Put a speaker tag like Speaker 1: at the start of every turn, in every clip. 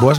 Speaker 1: Boas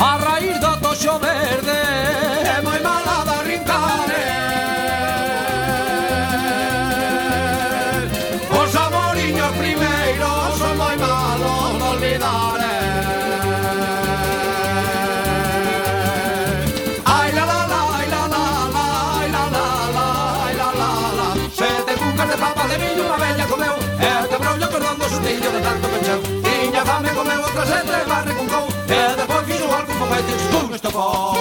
Speaker 2: A raíz do toxo verde É moi mala da rincare Os amoriños primeiros Son moi malos de olvidar eh. Ai la la la, ai la la la Ai la la la, ai la la la Sete cuncas de papa de miño unha bella comeu E te brollo cordón do sustillo de tanto pencheu Tiña fame comeu outra sete barre con cou E depois fixo algún foguete Pum, estopou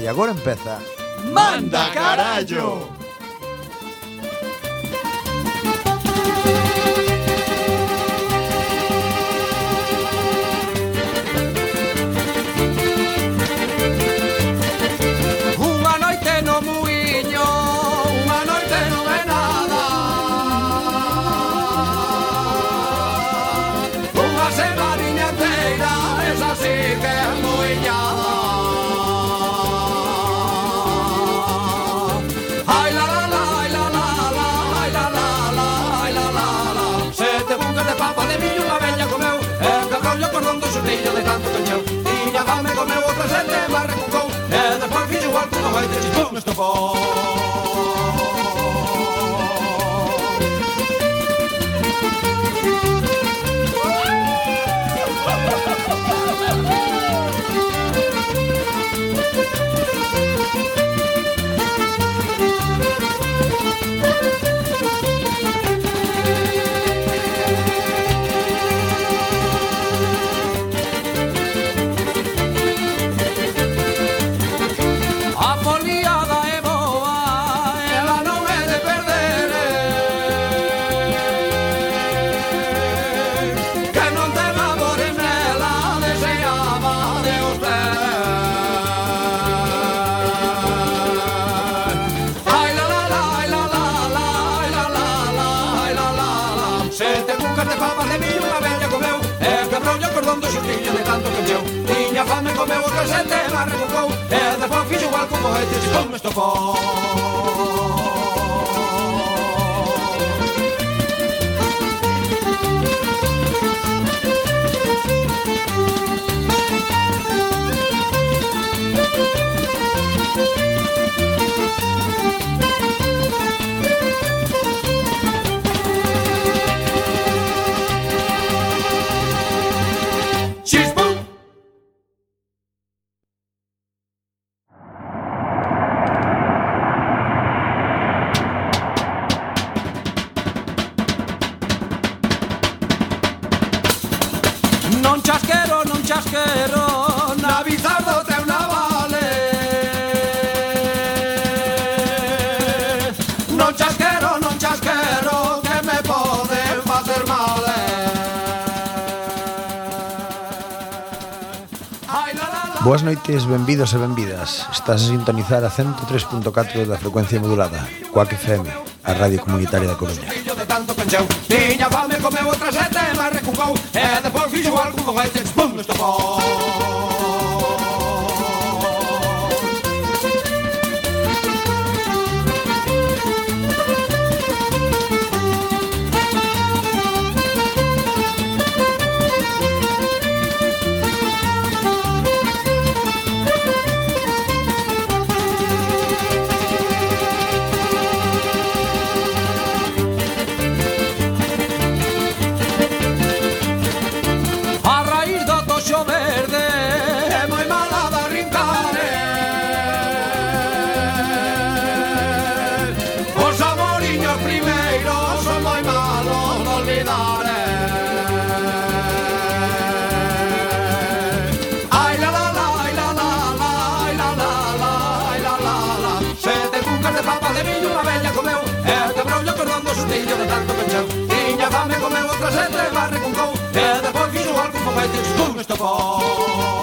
Speaker 1: E agora empeza
Speaker 2: ¡Manda carallo! Unha noite no muiño, unha noite non é nada Unha semaninha inteira, esa sí que é muiñada Ai la la la, ai la la la, ai la la la, ai la la la. Sete bucas de papa de millo unha bella comeu, e de rollo cordón do xurtillo de tanto cancheu. Tiña fame comeu outra sete, mas recucou, e despois fixo igual que unha baita chipou no estopou. A foliada é boa, ela non é de perder eh. Que non te labores nela, deseaba de usted Ai la la la, ai la la la, ai la la la, ai la la la Sete cucas de papas de millo unha bella comeu E quebrou o cordón do xurtillo de tanto que encheu Tiña fame comeu outra sete, mas recucou E despois fixo igual con cohete, chipou me estopou Chispum! Non chasquero, non chasquero, na bizardo te una vale. Non chasquero, non chasquero, que me poden facer mal. eh. Ai, la, la, la.
Speaker 1: Boas noites, benvidos e benvidas Estás a sintonizar a 103.4 da frecuencia modulada Coac FM, a radio comunitaria da Coruña
Speaker 2: Fillo de tanto pencheu Tiña fame, comeu outra sete, mas recucou E depois fixo algún foguete, pum, estopou A raíz do toxo verde eh. letras e trebarre con cou E depois fixo algún papete que tú me estopou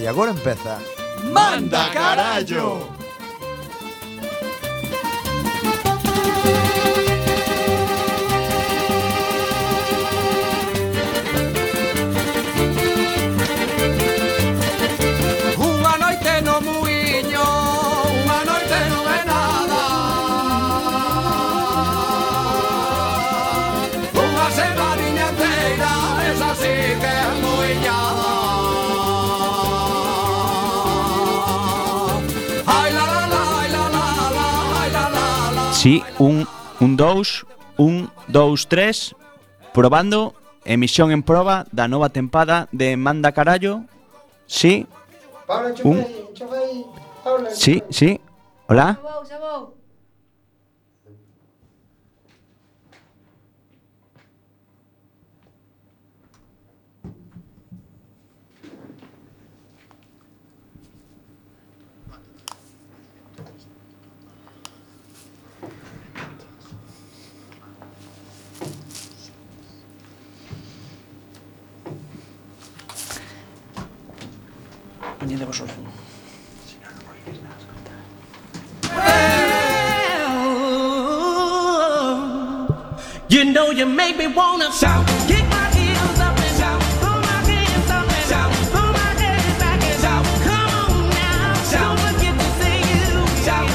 Speaker 1: E agora empeza
Speaker 2: Manda carallo! Unha noite no muiño, unha noite non é nada Unha semaninha inteira, esa sí que é muiñada Ai la la la, ai la la la, ai la la la
Speaker 3: Sí, un, un dous, un, dous, tres Probando Emisión en proba da nova tempada de Manda Carallo Sí,
Speaker 4: Paula, chupa
Speaker 3: Un-
Speaker 4: aí, chupa aí. Paula,
Speaker 3: sí, sí Hola
Speaker 5: vou, xa vou.
Speaker 6: You know you make me wanna shout. Kick my heels up and shout. Throw my hands up and shout. Throw my hands back and shout. Come on now. Don't forget to say you. Shout.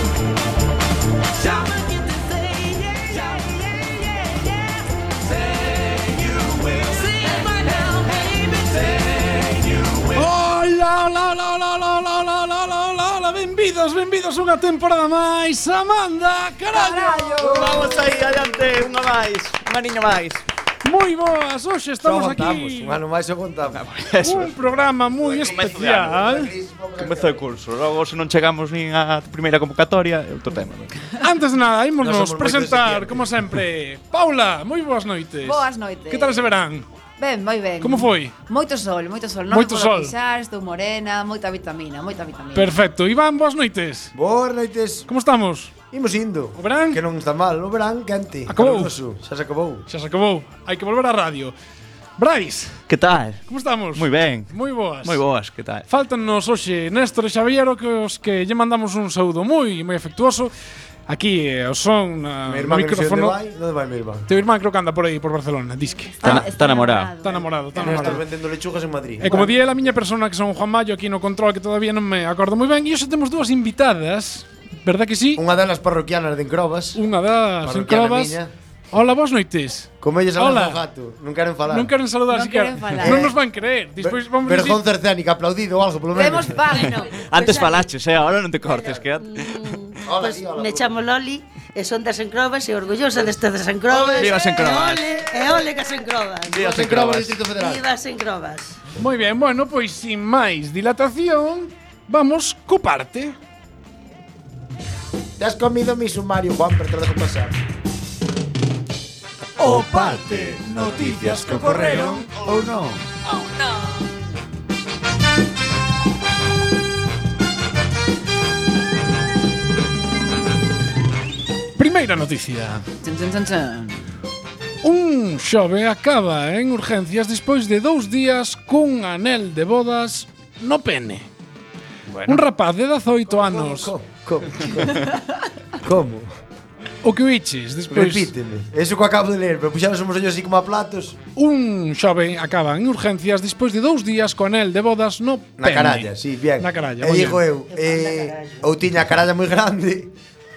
Speaker 6: Shout. Don't forget to say yeah, yeah, yeah, yeah, yeah. Say you will. Say it right now, baby. Say you will.
Speaker 7: Ola, ola, ola, ola, ola, ola, ola, ola, ola, ola, ola, benvidos, benvidos unha temporada máis Amanda, carallo
Speaker 8: Vamos aí, adiante, unha máis, unha niña máis.
Speaker 7: Moi boas, hoxe estamos aquí
Speaker 4: Un ano máis o contamos.
Speaker 7: Un programa moi
Speaker 8: comezo de ano,
Speaker 7: especial
Speaker 8: Comezou o curso, logo se non chegamos nin á primeira convocatoria, é outro tema.
Speaker 7: Antes de nada,
Speaker 4: Nós
Speaker 7: ímonos
Speaker 4: somos moito
Speaker 7: presentar,
Speaker 4: de
Speaker 7: como sempre Paula, moi boas noites
Speaker 5: Boas noites.
Speaker 7: Que tal ese verán?
Speaker 5: Ben, moi ben.
Speaker 7: Como foi?
Speaker 5: Moito sol, moito sol. Non moito
Speaker 7: Moito
Speaker 5: sol.
Speaker 7: sol.
Speaker 5: Pisar, estou morena, moita vitamina, moita vitamina.
Speaker 7: Perfecto, Iván, boas noites
Speaker 4: Boas noites.
Speaker 7: Como estamos?
Speaker 4: Imos indo.
Speaker 7: O verán?
Speaker 4: Que non está mal. O verán, quente.
Speaker 7: Acabou.
Speaker 4: Caluroso. Xa se acabou.
Speaker 7: Xa se acabou, hai que volver á radio Brais,
Speaker 8: Que tal?
Speaker 7: como estamos?
Speaker 8: Moi ben.
Speaker 7: Moi boas
Speaker 8: Moi boas, que tal?
Speaker 7: Faltannos hoxe Néstor e Xavier o que os que lle mandamos un saúdo moi moi afectuoso. Aquí eh, o son na
Speaker 4: Mi
Speaker 7: no
Speaker 4: irmán que non sei onde
Speaker 7: micrófono.
Speaker 4: vai. Onde vai mi irmán?
Speaker 7: Teu irmán creo que anda por aí por Barcelona, disque.
Speaker 8: Está, está namorado.
Speaker 7: Está enamorado, está
Speaker 4: Non estás
Speaker 7: enamorado.
Speaker 4: vendendo lechugas en Madrid.
Speaker 7: E Eh, como di a miña persona que son Juan Mayo aquí no control que todavía non me acordo moi ben, e hoxe temos dúas invitadas, verdad que sí?
Speaker 4: Unha delas parroquianas de Encrobas.
Speaker 7: Unha das
Speaker 4: Parroquiana
Speaker 7: en Crovas.
Speaker 4: miña.
Speaker 7: Hola, boas noites.
Speaker 4: Como elles
Speaker 7: Hola.
Speaker 4: hablan do gato. Non queren falar.
Speaker 7: Non queren saludar
Speaker 5: Non
Speaker 7: siquiera.
Speaker 5: queren falar.
Speaker 7: Non nos van creer. Despois vamos a
Speaker 4: Vergonza escénica, aplaudido ou algo, polo menos.
Speaker 5: Temos página.
Speaker 8: Antes falaches, eh, ahora non te cortes, que antes.
Speaker 4: Hola,
Speaker 9: Pois
Speaker 4: sí, hola,
Speaker 9: Pues me
Speaker 4: hola.
Speaker 9: chamo Loli e son das Encrobas e orgullosa destas das Encrobas.
Speaker 8: Viva as Encrobas.
Speaker 9: E ole, e ole que as Encrobas.
Speaker 8: Días
Speaker 3: mm,
Speaker 8: en
Speaker 4: Encrobas,
Speaker 8: crobas.
Speaker 4: Distrito Federal.
Speaker 9: Viva as Encrobas.
Speaker 7: Moi ben, bueno, pois sin máis dilatación, vamos co parte.
Speaker 4: Te has comido mi sumario, Juan, pero te lo dejo pasar.
Speaker 1: O parte Noticias que ocorreron ou non
Speaker 7: Primeira noticia.
Speaker 5: Chan, chan, chan, chan.
Speaker 7: Un xove acaba en urgencias despois de dous días cun anel de bodas no pene. Bueno. Un rapaz de 18 anos.
Speaker 4: Co- co- Como?
Speaker 7: O que oiches despois?
Speaker 4: Repíteme. Eso que acabo de ler, pero puxaron somos ollos así como a platos.
Speaker 7: Un xove acaba en urgencias despois de dous días co anel de bodas no pene.
Speaker 4: Na caralla, sí, bien.
Speaker 7: Na caralla,
Speaker 4: E
Speaker 7: moi
Speaker 4: digo
Speaker 7: ben.
Speaker 4: eu, eh, ou tiña a caralla moi grande,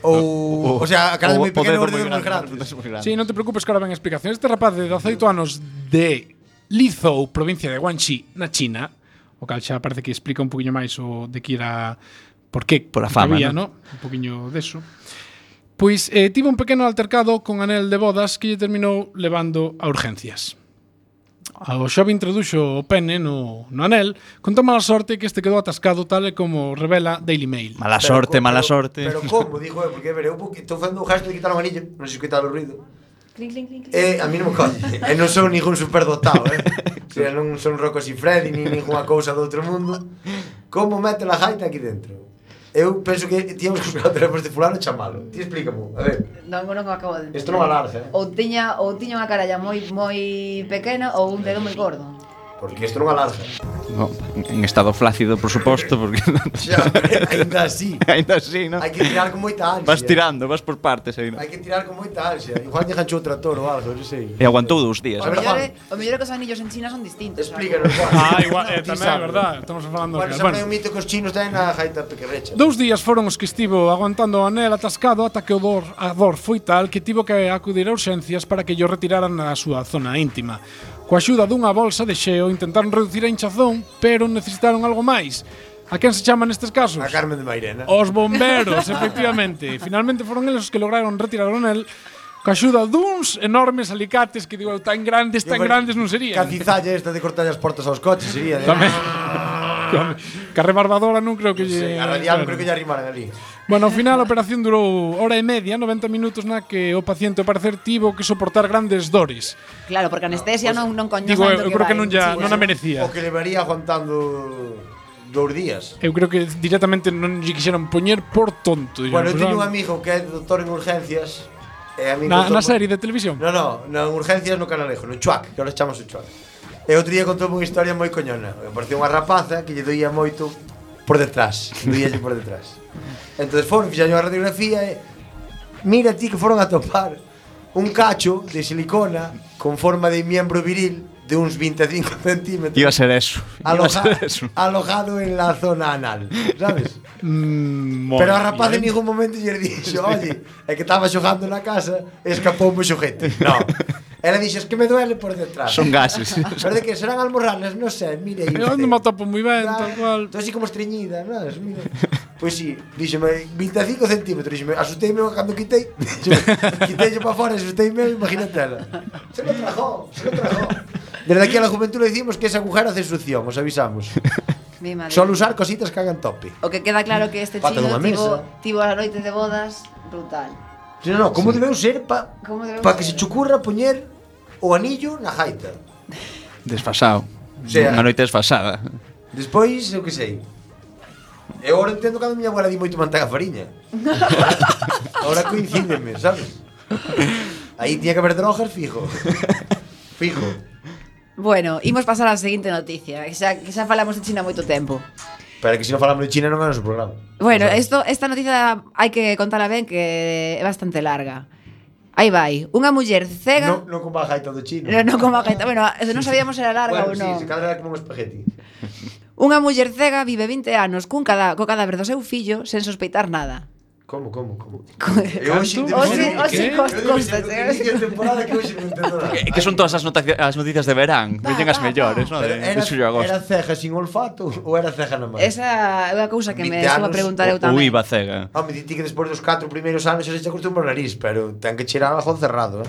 Speaker 4: ou, o sea, a caralla moi pequena ou dedos moi grandes.
Speaker 7: Sí, non te preocupes que ahora ven a explicación. Este rapaz de 18 anos de Lizhou, provincia de Guangxi, na China, o cal xa parece que explica un poquinho máis o de que era por qué,
Speaker 8: Por a
Speaker 7: que
Speaker 8: fama,
Speaker 7: había,
Speaker 8: ¿no?
Speaker 7: ¿no? Un poquinho deso. Pois eh, tivo un pequeno altercado con anel de bodas que lle terminou levando a urgencias. O xove introduxo o pene no, no anel con tan mala sorte que este quedou atascado tal e como revela Daily Mail.
Speaker 8: Mala sorte,
Speaker 4: Pero co-
Speaker 8: mala
Speaker 4: pero-
Speaker 8: sorte.
Speaker 4: Pero como, digo eu, porque a ver, eu bu- estou facendo un gesto de quitar o anillo, non sei se escoitado o ruido.
Speaker 9: Clink, clink, clink, clink.
Speaker 4: Eh, a mí non me colle. E non son ningún superdotado, eh. O sea, non son Rocco y Freddy, ni ninguna cousa do outro mundo. Como mete a gaita aquí dentro? Eu penso que tíamos que buscar o teléfono de fulano e chamalo. Ti explícamo, a ver.
Speaker 5: Non, non acabo de entender.
Speaker 4: Isto non alarce, eh.
Speaker 5: Ou tiña, ou tiña unha caralla moi moi pequena ou un dedo moi gordo.
Speaker 4: Porque isto non alarza.
Speaker 3: No, en estado flácido, por suposto, porque
Speaker 4: Xa, ainda así.
Speaker 3: ainda así, ¿no?
Speaker 4: Hai que tirar con moita ansia.
Speaker 3: Vas tirando, vas por partes aí, ¿no?
Speaker 4: Hai que tirar con moita ansia. Igual lle ganchou o tractor ou algo, non sei.
Speaker 3: E aguantou dous días.
Speaker 5: O
Speaker 4: A ver,
Speaker 5: mellor,
Speaker 4: Juan.
Speaker 5: é- o mellor é que os anillos en China son distintos.
Speaker 4: Explícanos, Juan.
Speaker 7: Ah, igual, eh,
Speaker 4: Ti
Speaker 7: tamén é
Speaker 4: sabes.
Speaker 7: verdad, estamos falando
Speaker 4: Bueno,
Speaker 7: bueno,
Speaker 4: sempre hai
Speaker 7: bueno.
Speaker 4: un mito que os chinos ten a gaita pequerrecha.
Speaker 7: Dous días foron os que estivo aguantando o anel atascado ata que o dor, a dor foi tal que tivo que acudir a urxencias para que llo retiraran a súa zona íntima. Coa axuda dunha bolsa de xeo intentaron reducir a hinchazón, pero necesitaron algo máis. A quen se chaman nestes casos?
Speaker 4: A Carmen de Mairena.
Speaker 7: Os bomberos, efectivamente. Finalmente foron eles os que lograron retirar o anel coa axuda duns enormes alicates que digo, eu, tan grandes, tan
Speaker 4: Yo,
Speaker 7: grandes non serían.
Speaker 4: Cacizalla esta de cortarlle as portas aos coches, sería. De...
Speaker 7: Tamén. Carre Barbadora non creo
Speaker 4: Ah.
Speaker 7: que
Speaker 4: Sí,
Speaker 7: lle-
Speaker 4: a radial creo que lle arrimaran ali.
Speaker 7: Bueno, ao final a operación durou hora e media, 90 minutos na que o paciente ao parecer tivo que soportar grandes dores.
Speaker 5: Claro, porque anestesia non non coño
Speaker 7: Digo, eu,
Speaker 5: santo
Speaker 7: eu creo
Speaker 5: vai
Speaker 7: que non ya,
Speaker 5: en
Speaker 7: non a
Speaker 5: China.
Speaker 7: merecía.
Speaker 4: O que levaría aguantando dous días.
Speaker 7: Eu creo que directamente non lle quixeron poñer por tonto.
Speaker 4: Bueno, eu
Speaker 7: Pues,
Speaker 4: teño un
Speaker 7: ah,
Speaker 4: amigo que é doctor en urgencias. E a mí
Speaker 7: na,
Speaker 4: contou-
Speaker 7: na serie de televisión.
Speaker 4: No, no, na urgencias no Canalejo, no Chuac, que ahora chamamos o Chuac. E outro día contou unha historia moi coñona. Apareceu unha rapaza que lle doía moito por detrás, doíalle por detrás. Entonces foron, fixaron a radiografía e mira ti que foron a topar un cacho de silicona con forma de miembro viril de uns 25 centímetros
Speaker 3: Iba a ser eso. Iba a
Speaker 4: aloja-
Speaker 3: ser eso.
Speaker 4: alojado en la zona anal, sabes?
Speaker 7: Mm,
Speaker 4: Pero a
Speaker 7: moi
Speaker 4: rapaz en
Speaker 7: bien.
Speaker 4: ningún momento lle dixo, oye, é que estaba xogando na casa, escapou o xogete. No. Ela dixo, es que me duele por detrás.
Speaker 3: Son gases.
Speaker 4: Pero de que serán almorranas, non sei, mire.
Speaker 7: Eu ando me atopo moi ben, tal cual.
Speaker 4: Estou así como estreñida, non? Mira. Pois si, sí, díxeme 25 centímetros, díxeme, asusteime cando quitei. díxeme, Quitei para fora, asusteime, imagínate ela. Se lo trajo, se lo trajo. Desde aquí a la juventud le decimos que esa agujera hace succión, os avisamos.
Speaker 5: Mi madre.
Speaker 4: Solo usar cositas que hagan tope.
Speaker 5: O que queda claro que este
Speaker 4: Pata
Speaker 5: chino
Speaker 4: dunha
Speaker 5: tivo,
Speaker 4: mesa.
Speaker 5: tivo a noite de bodas brutal.
Speaker 4: Si non, non, como sí. debeu ser pa,
Speaker 5: Como debeu
Speaker 4: pa que
Speaker 5: ser.
Speaker 4: se chucurra poñer o anillo na jaita.
Speaker 3: Desfasado.
Speaker 4: O sea-
Speaker 3: Unha noite desfasada.
Speaker 4: Despois, eu que sei. Eu agora entendo que a miña abuela di moito manteiga e fariña. agora coincídenme, sabes? Aí tiña que haber drogas fijo. Fijo.
Speaker 5: Bueno, imos pasar á seguinte noticia, que xa, que xa falamos de China moito tempo.
Speaker 4: Pero que se non falamos de China non é o noso programa.
Speaker 5: Bueno, esto, esta noticia hai que contala ben que é bastante larga. Aí vai, unha muller cega...
Speaker 4: Non no como a jaita do chino.
Speaker 5: No, no como a gaita. Bueno, eso non sabíamos se era larga
Speaker 4: bueno,
Speaker 5: ou non.
Speaker 4: Sí, se cadra era como un espagueti.
Speaker 5: Unha muller cega vive 20 anos cun cada, co cadáver do seu fillo sen sospeitar nada.
Speaker 4: Como, como, como?
Speaker 5: Canto? Hoxe, hoxe, costa, costa,
Speaker 4: Hoxe, temporada que hoxe non entendo nada.
Speaker 3: Que, que son todas as noticias, as noticias de verán.
Speaker 5: Va,
Speaker 3: Veñen as
Speaker 5: va,
Speaker 3: mellores, no?
Speaker 4: Pero
Speaker 3: De, de
Speaker 4: era,
Speaker 3: xullo a agosto.
Speaker 4: era ceja sin olfato ou era ceja na man?
Speaker 5: Esa é unha cousa que me estuvo a
Speaker 4: Invitaros
Speaker 5: preguntar eu
Speaker 3: O
Speaker 5: tamén.
Speaker 3: IVA cega.
Speaker 4: Home, diti que despois dos 4 primeiros anos xa se acostumbra o nariz, pero ten que cheirar ajo cerrado, eh?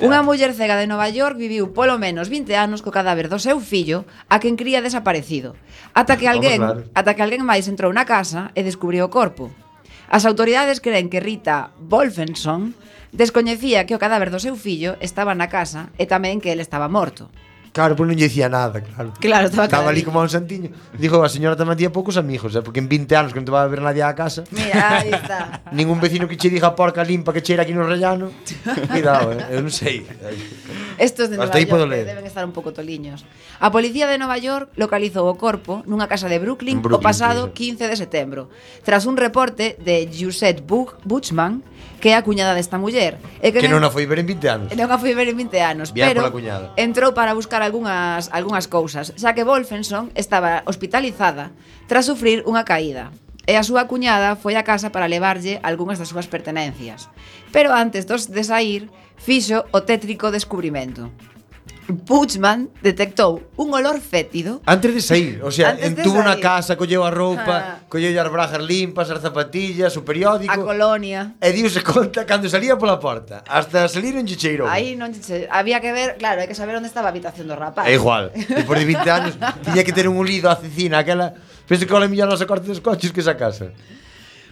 Speaker 5: Unha muller cega de Nova York viviu polo menos 20 anos co cadáver do seu fillo, a quen cría desaparecido, ata que
Speaker 4: Vamos,
Speaker 5: alguén,
Speaker 4: claro.
Speaker 5: ata que alguén máis entrou na casa e descubriu o corpo. As autoridades creen que Rita Wolfenson descoñecía que o cadáver do seu fillo estaba na casa e tamén que ele estaba morto.
Speaker 4: Claro, pois non lle dicía nada, claro.
Speaker 5: Claro, estaba
Speaker 4: Estaba
Speaker 5: cada
Speaker 4: ali
Speaker 5: día.
Speaker 4: como a un santiño. Dijo, a señora tamén tía poucos amigos, eh? porque en 20 anos que non te va a ver nadie á casa,
Speaker 5: Mira, aí está.
Speaker 4: ningún vecino que che diga porca limpa que cheira aquí no rellano. Cuidado, eh? eu non sei.
Speaker 5: Estos de
Speaker 4: Hasta
Speaker 5: Nova
Speaker 4: aí puedo
Speaker 5: York
Speaker 4: leer.
Speaker 5: que deben estar un pouco toliños. A policía de Nova York localizou o corpo nunha casa de
Speaker 4: En
Speaker 5: Brooklyn,
Speaker 4: Brooklyn,
Speaker 5: o pasado
Speaker 4: sí,
Speaker 5: 15 de setembro, tras un reporte de Giuseppe Bu- Buchmann, que é a cuñada desta muller, e que,
Speaker 4: Que non
Speaker 5: non,
Speaker 4: a foi ver en 20 anos.
Speaker 5: non a foi ver en 20 anos,
Speaker 4: Viaje
Speaker 5: pero
Speaker 4: pola cuñada.
Speaker 5: entrou para buscar algunhas algunhas cousas, xa que Wolfenson estaba hospitalizada tras sufrir unha caída. E a súa cuñada foi á casa para levarlle algunhas das súas pertenencias. Pero antes dos de sair, fixo o tétrico descubrimento. Puchman detectou un olor fétido
Speaker 4: Antes de sair, o sea,
Speaker 5: Antes de
Speaker 4: entuvo na
Speaker 5: sair.
Speaker 4: casa, colleu a roupa,
Speaker 5: Ah.
Speaker 4: colleu as brajas limpas, as zapatillas, o periódico.
Speaker 5: a colonia.
Speaker 4: E diuse conta cando salía pola porta Hasta salir un chicheiro
Speaker 5: Aí non che- había que ver, claro, hai que saber onde estaba a habitación do rapaz.
Speaker 4: É igual Depois de 20 anos Tiña que ter un ulido a cecina Aquela Penso que vale millón a sacar dos coches que esa casa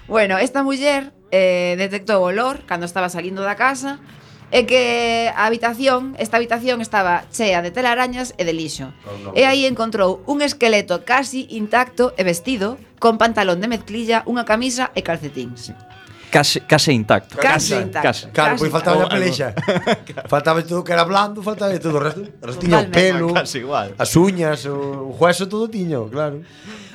Speaker 5: Bueno, esta muller eh, detectou o olor cando estaba salindo da casa E que a habitación, esta habitación estaba chea de telarañas e de lixo.
Speaker 4: Oh, no.
Speaker 5: E aí encontrou un esqueleto casi intacto e vestido, con pantalón de mezclilla, unha camisa e calcetins.
Speaker 10: Case, case intacto.
Speaker 4: Casi,
Speaker 5: Casi, intacto.
Speaker 10: casi.
Speaker 4: Claro,
Speaker 5: casi
Speaker 4: pois faltaba a
Speaker 5: intacto.
Speaker 4: pelexa. faltaba todo que era blando, faltaba de todo. O resto, o resto tiña o
Speaker 5: Totalmente.
Speaker 4: pelo,
Speaker 8: Casi igual.
Speaker 4: as uñas, o, o hueso, todo tiño, claro.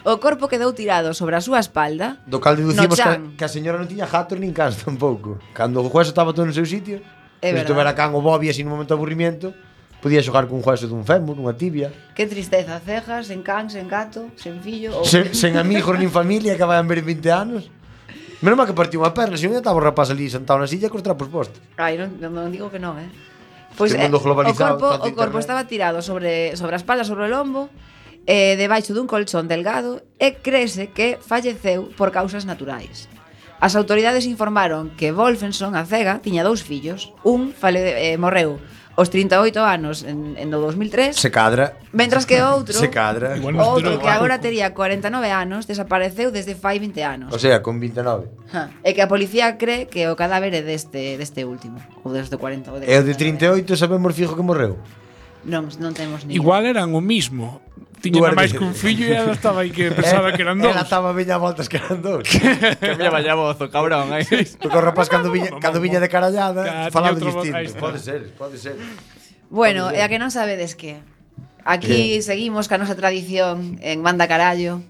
Speaker 5: O corpo quedou tirado sobre a súa espalda.
Speaker 4: Do cal deducimos que,
Speaker 5: No chan.
Speaker 4: que a señora non tiña jatos nin cans tampouco. Cando o hueso estaba todo no seu sitio,
Speaker 5: É
Speaker 4: se
Speaker 5: verdade.
Speaker 4: estuvera can o Bobby así no momento de aburrimiento, podía xogar cun hueso dun fémur, unha tibia,
Speaker 5: Que tristeza, cejas, sen can, sen gato, sen fillo... Ou...
Speaker 4: sen, sen amigos nin familia que vayan ver en 20 anos. Menos mal que partiu unha perna, senón estaba o rapaz ali sentado na silla cos trapos postos.
Speaker 5: Ai, non, non, non digo que non, eh. Pois
Speaker 4: Este
Speaker 5: eh,
Speaker 4: mundo
Speaker 5: o
Speaker 4: globalizado,
Speaker 5: corpo,
Speaker 4: tanto
Speaker 5: o
Speaker 4: internet.
Speaker 5: corpo estaba tirado sobre sobre a espalda, sobre o lombo, eh, debaixo dun colchón delgado e crese que falleceu por causas naturais. As autoridades informaron que Wolfenson, a cega, tiña dous fillos. Un fale, eh, morreu aos 38 anos en, en o 2003,
Speaker 4: Se cadra.
Speaker 5: mentras que outro,
Speaker 4: Se cadra.
Speaker 5: o
Speaker 7: Igual nos
Speaker 5: outro
Speaker 7: durou
Speaker 5: que agora
Speaker 7: pouco.
Speaker 5: tería 49 anos, desapareceu desde fai 20 anos.
Speaker 4: O sea, con 29.
Speaker 5: Ja, E que a policía cree que o cadáver é deste, deste último Ou deste 40 ou de
Speaker 4: E o de 38 sabemos fijo que morreu.
Speaker 5: Non, non temos ni
Speaker 7: Igual eran o mismo. Tiña
Speaker 4: Duarte.
Speaker 7: máis que un fillo e ela estaba aí que pensaba que eran dous.
Speaker 4: Ela estaba veña a voltas que eran dous.
Speaker 8: Que me vaya voz, o cabrón. Ahí.
Speaker 4: Porque o rapaz cando viña, cando viña de
Speaker 7: Ca-
Speaker 4: carallada falaba
Speaker 7: tiña outro- aí
Speaker 4: distinto.
Speaker 7: está.
Speaker 4: Pode ser, pode ser.
Speaker 5: Bueno, e a que non sabedes que Aquí seguimos ca nosa tradición en Manda Carallo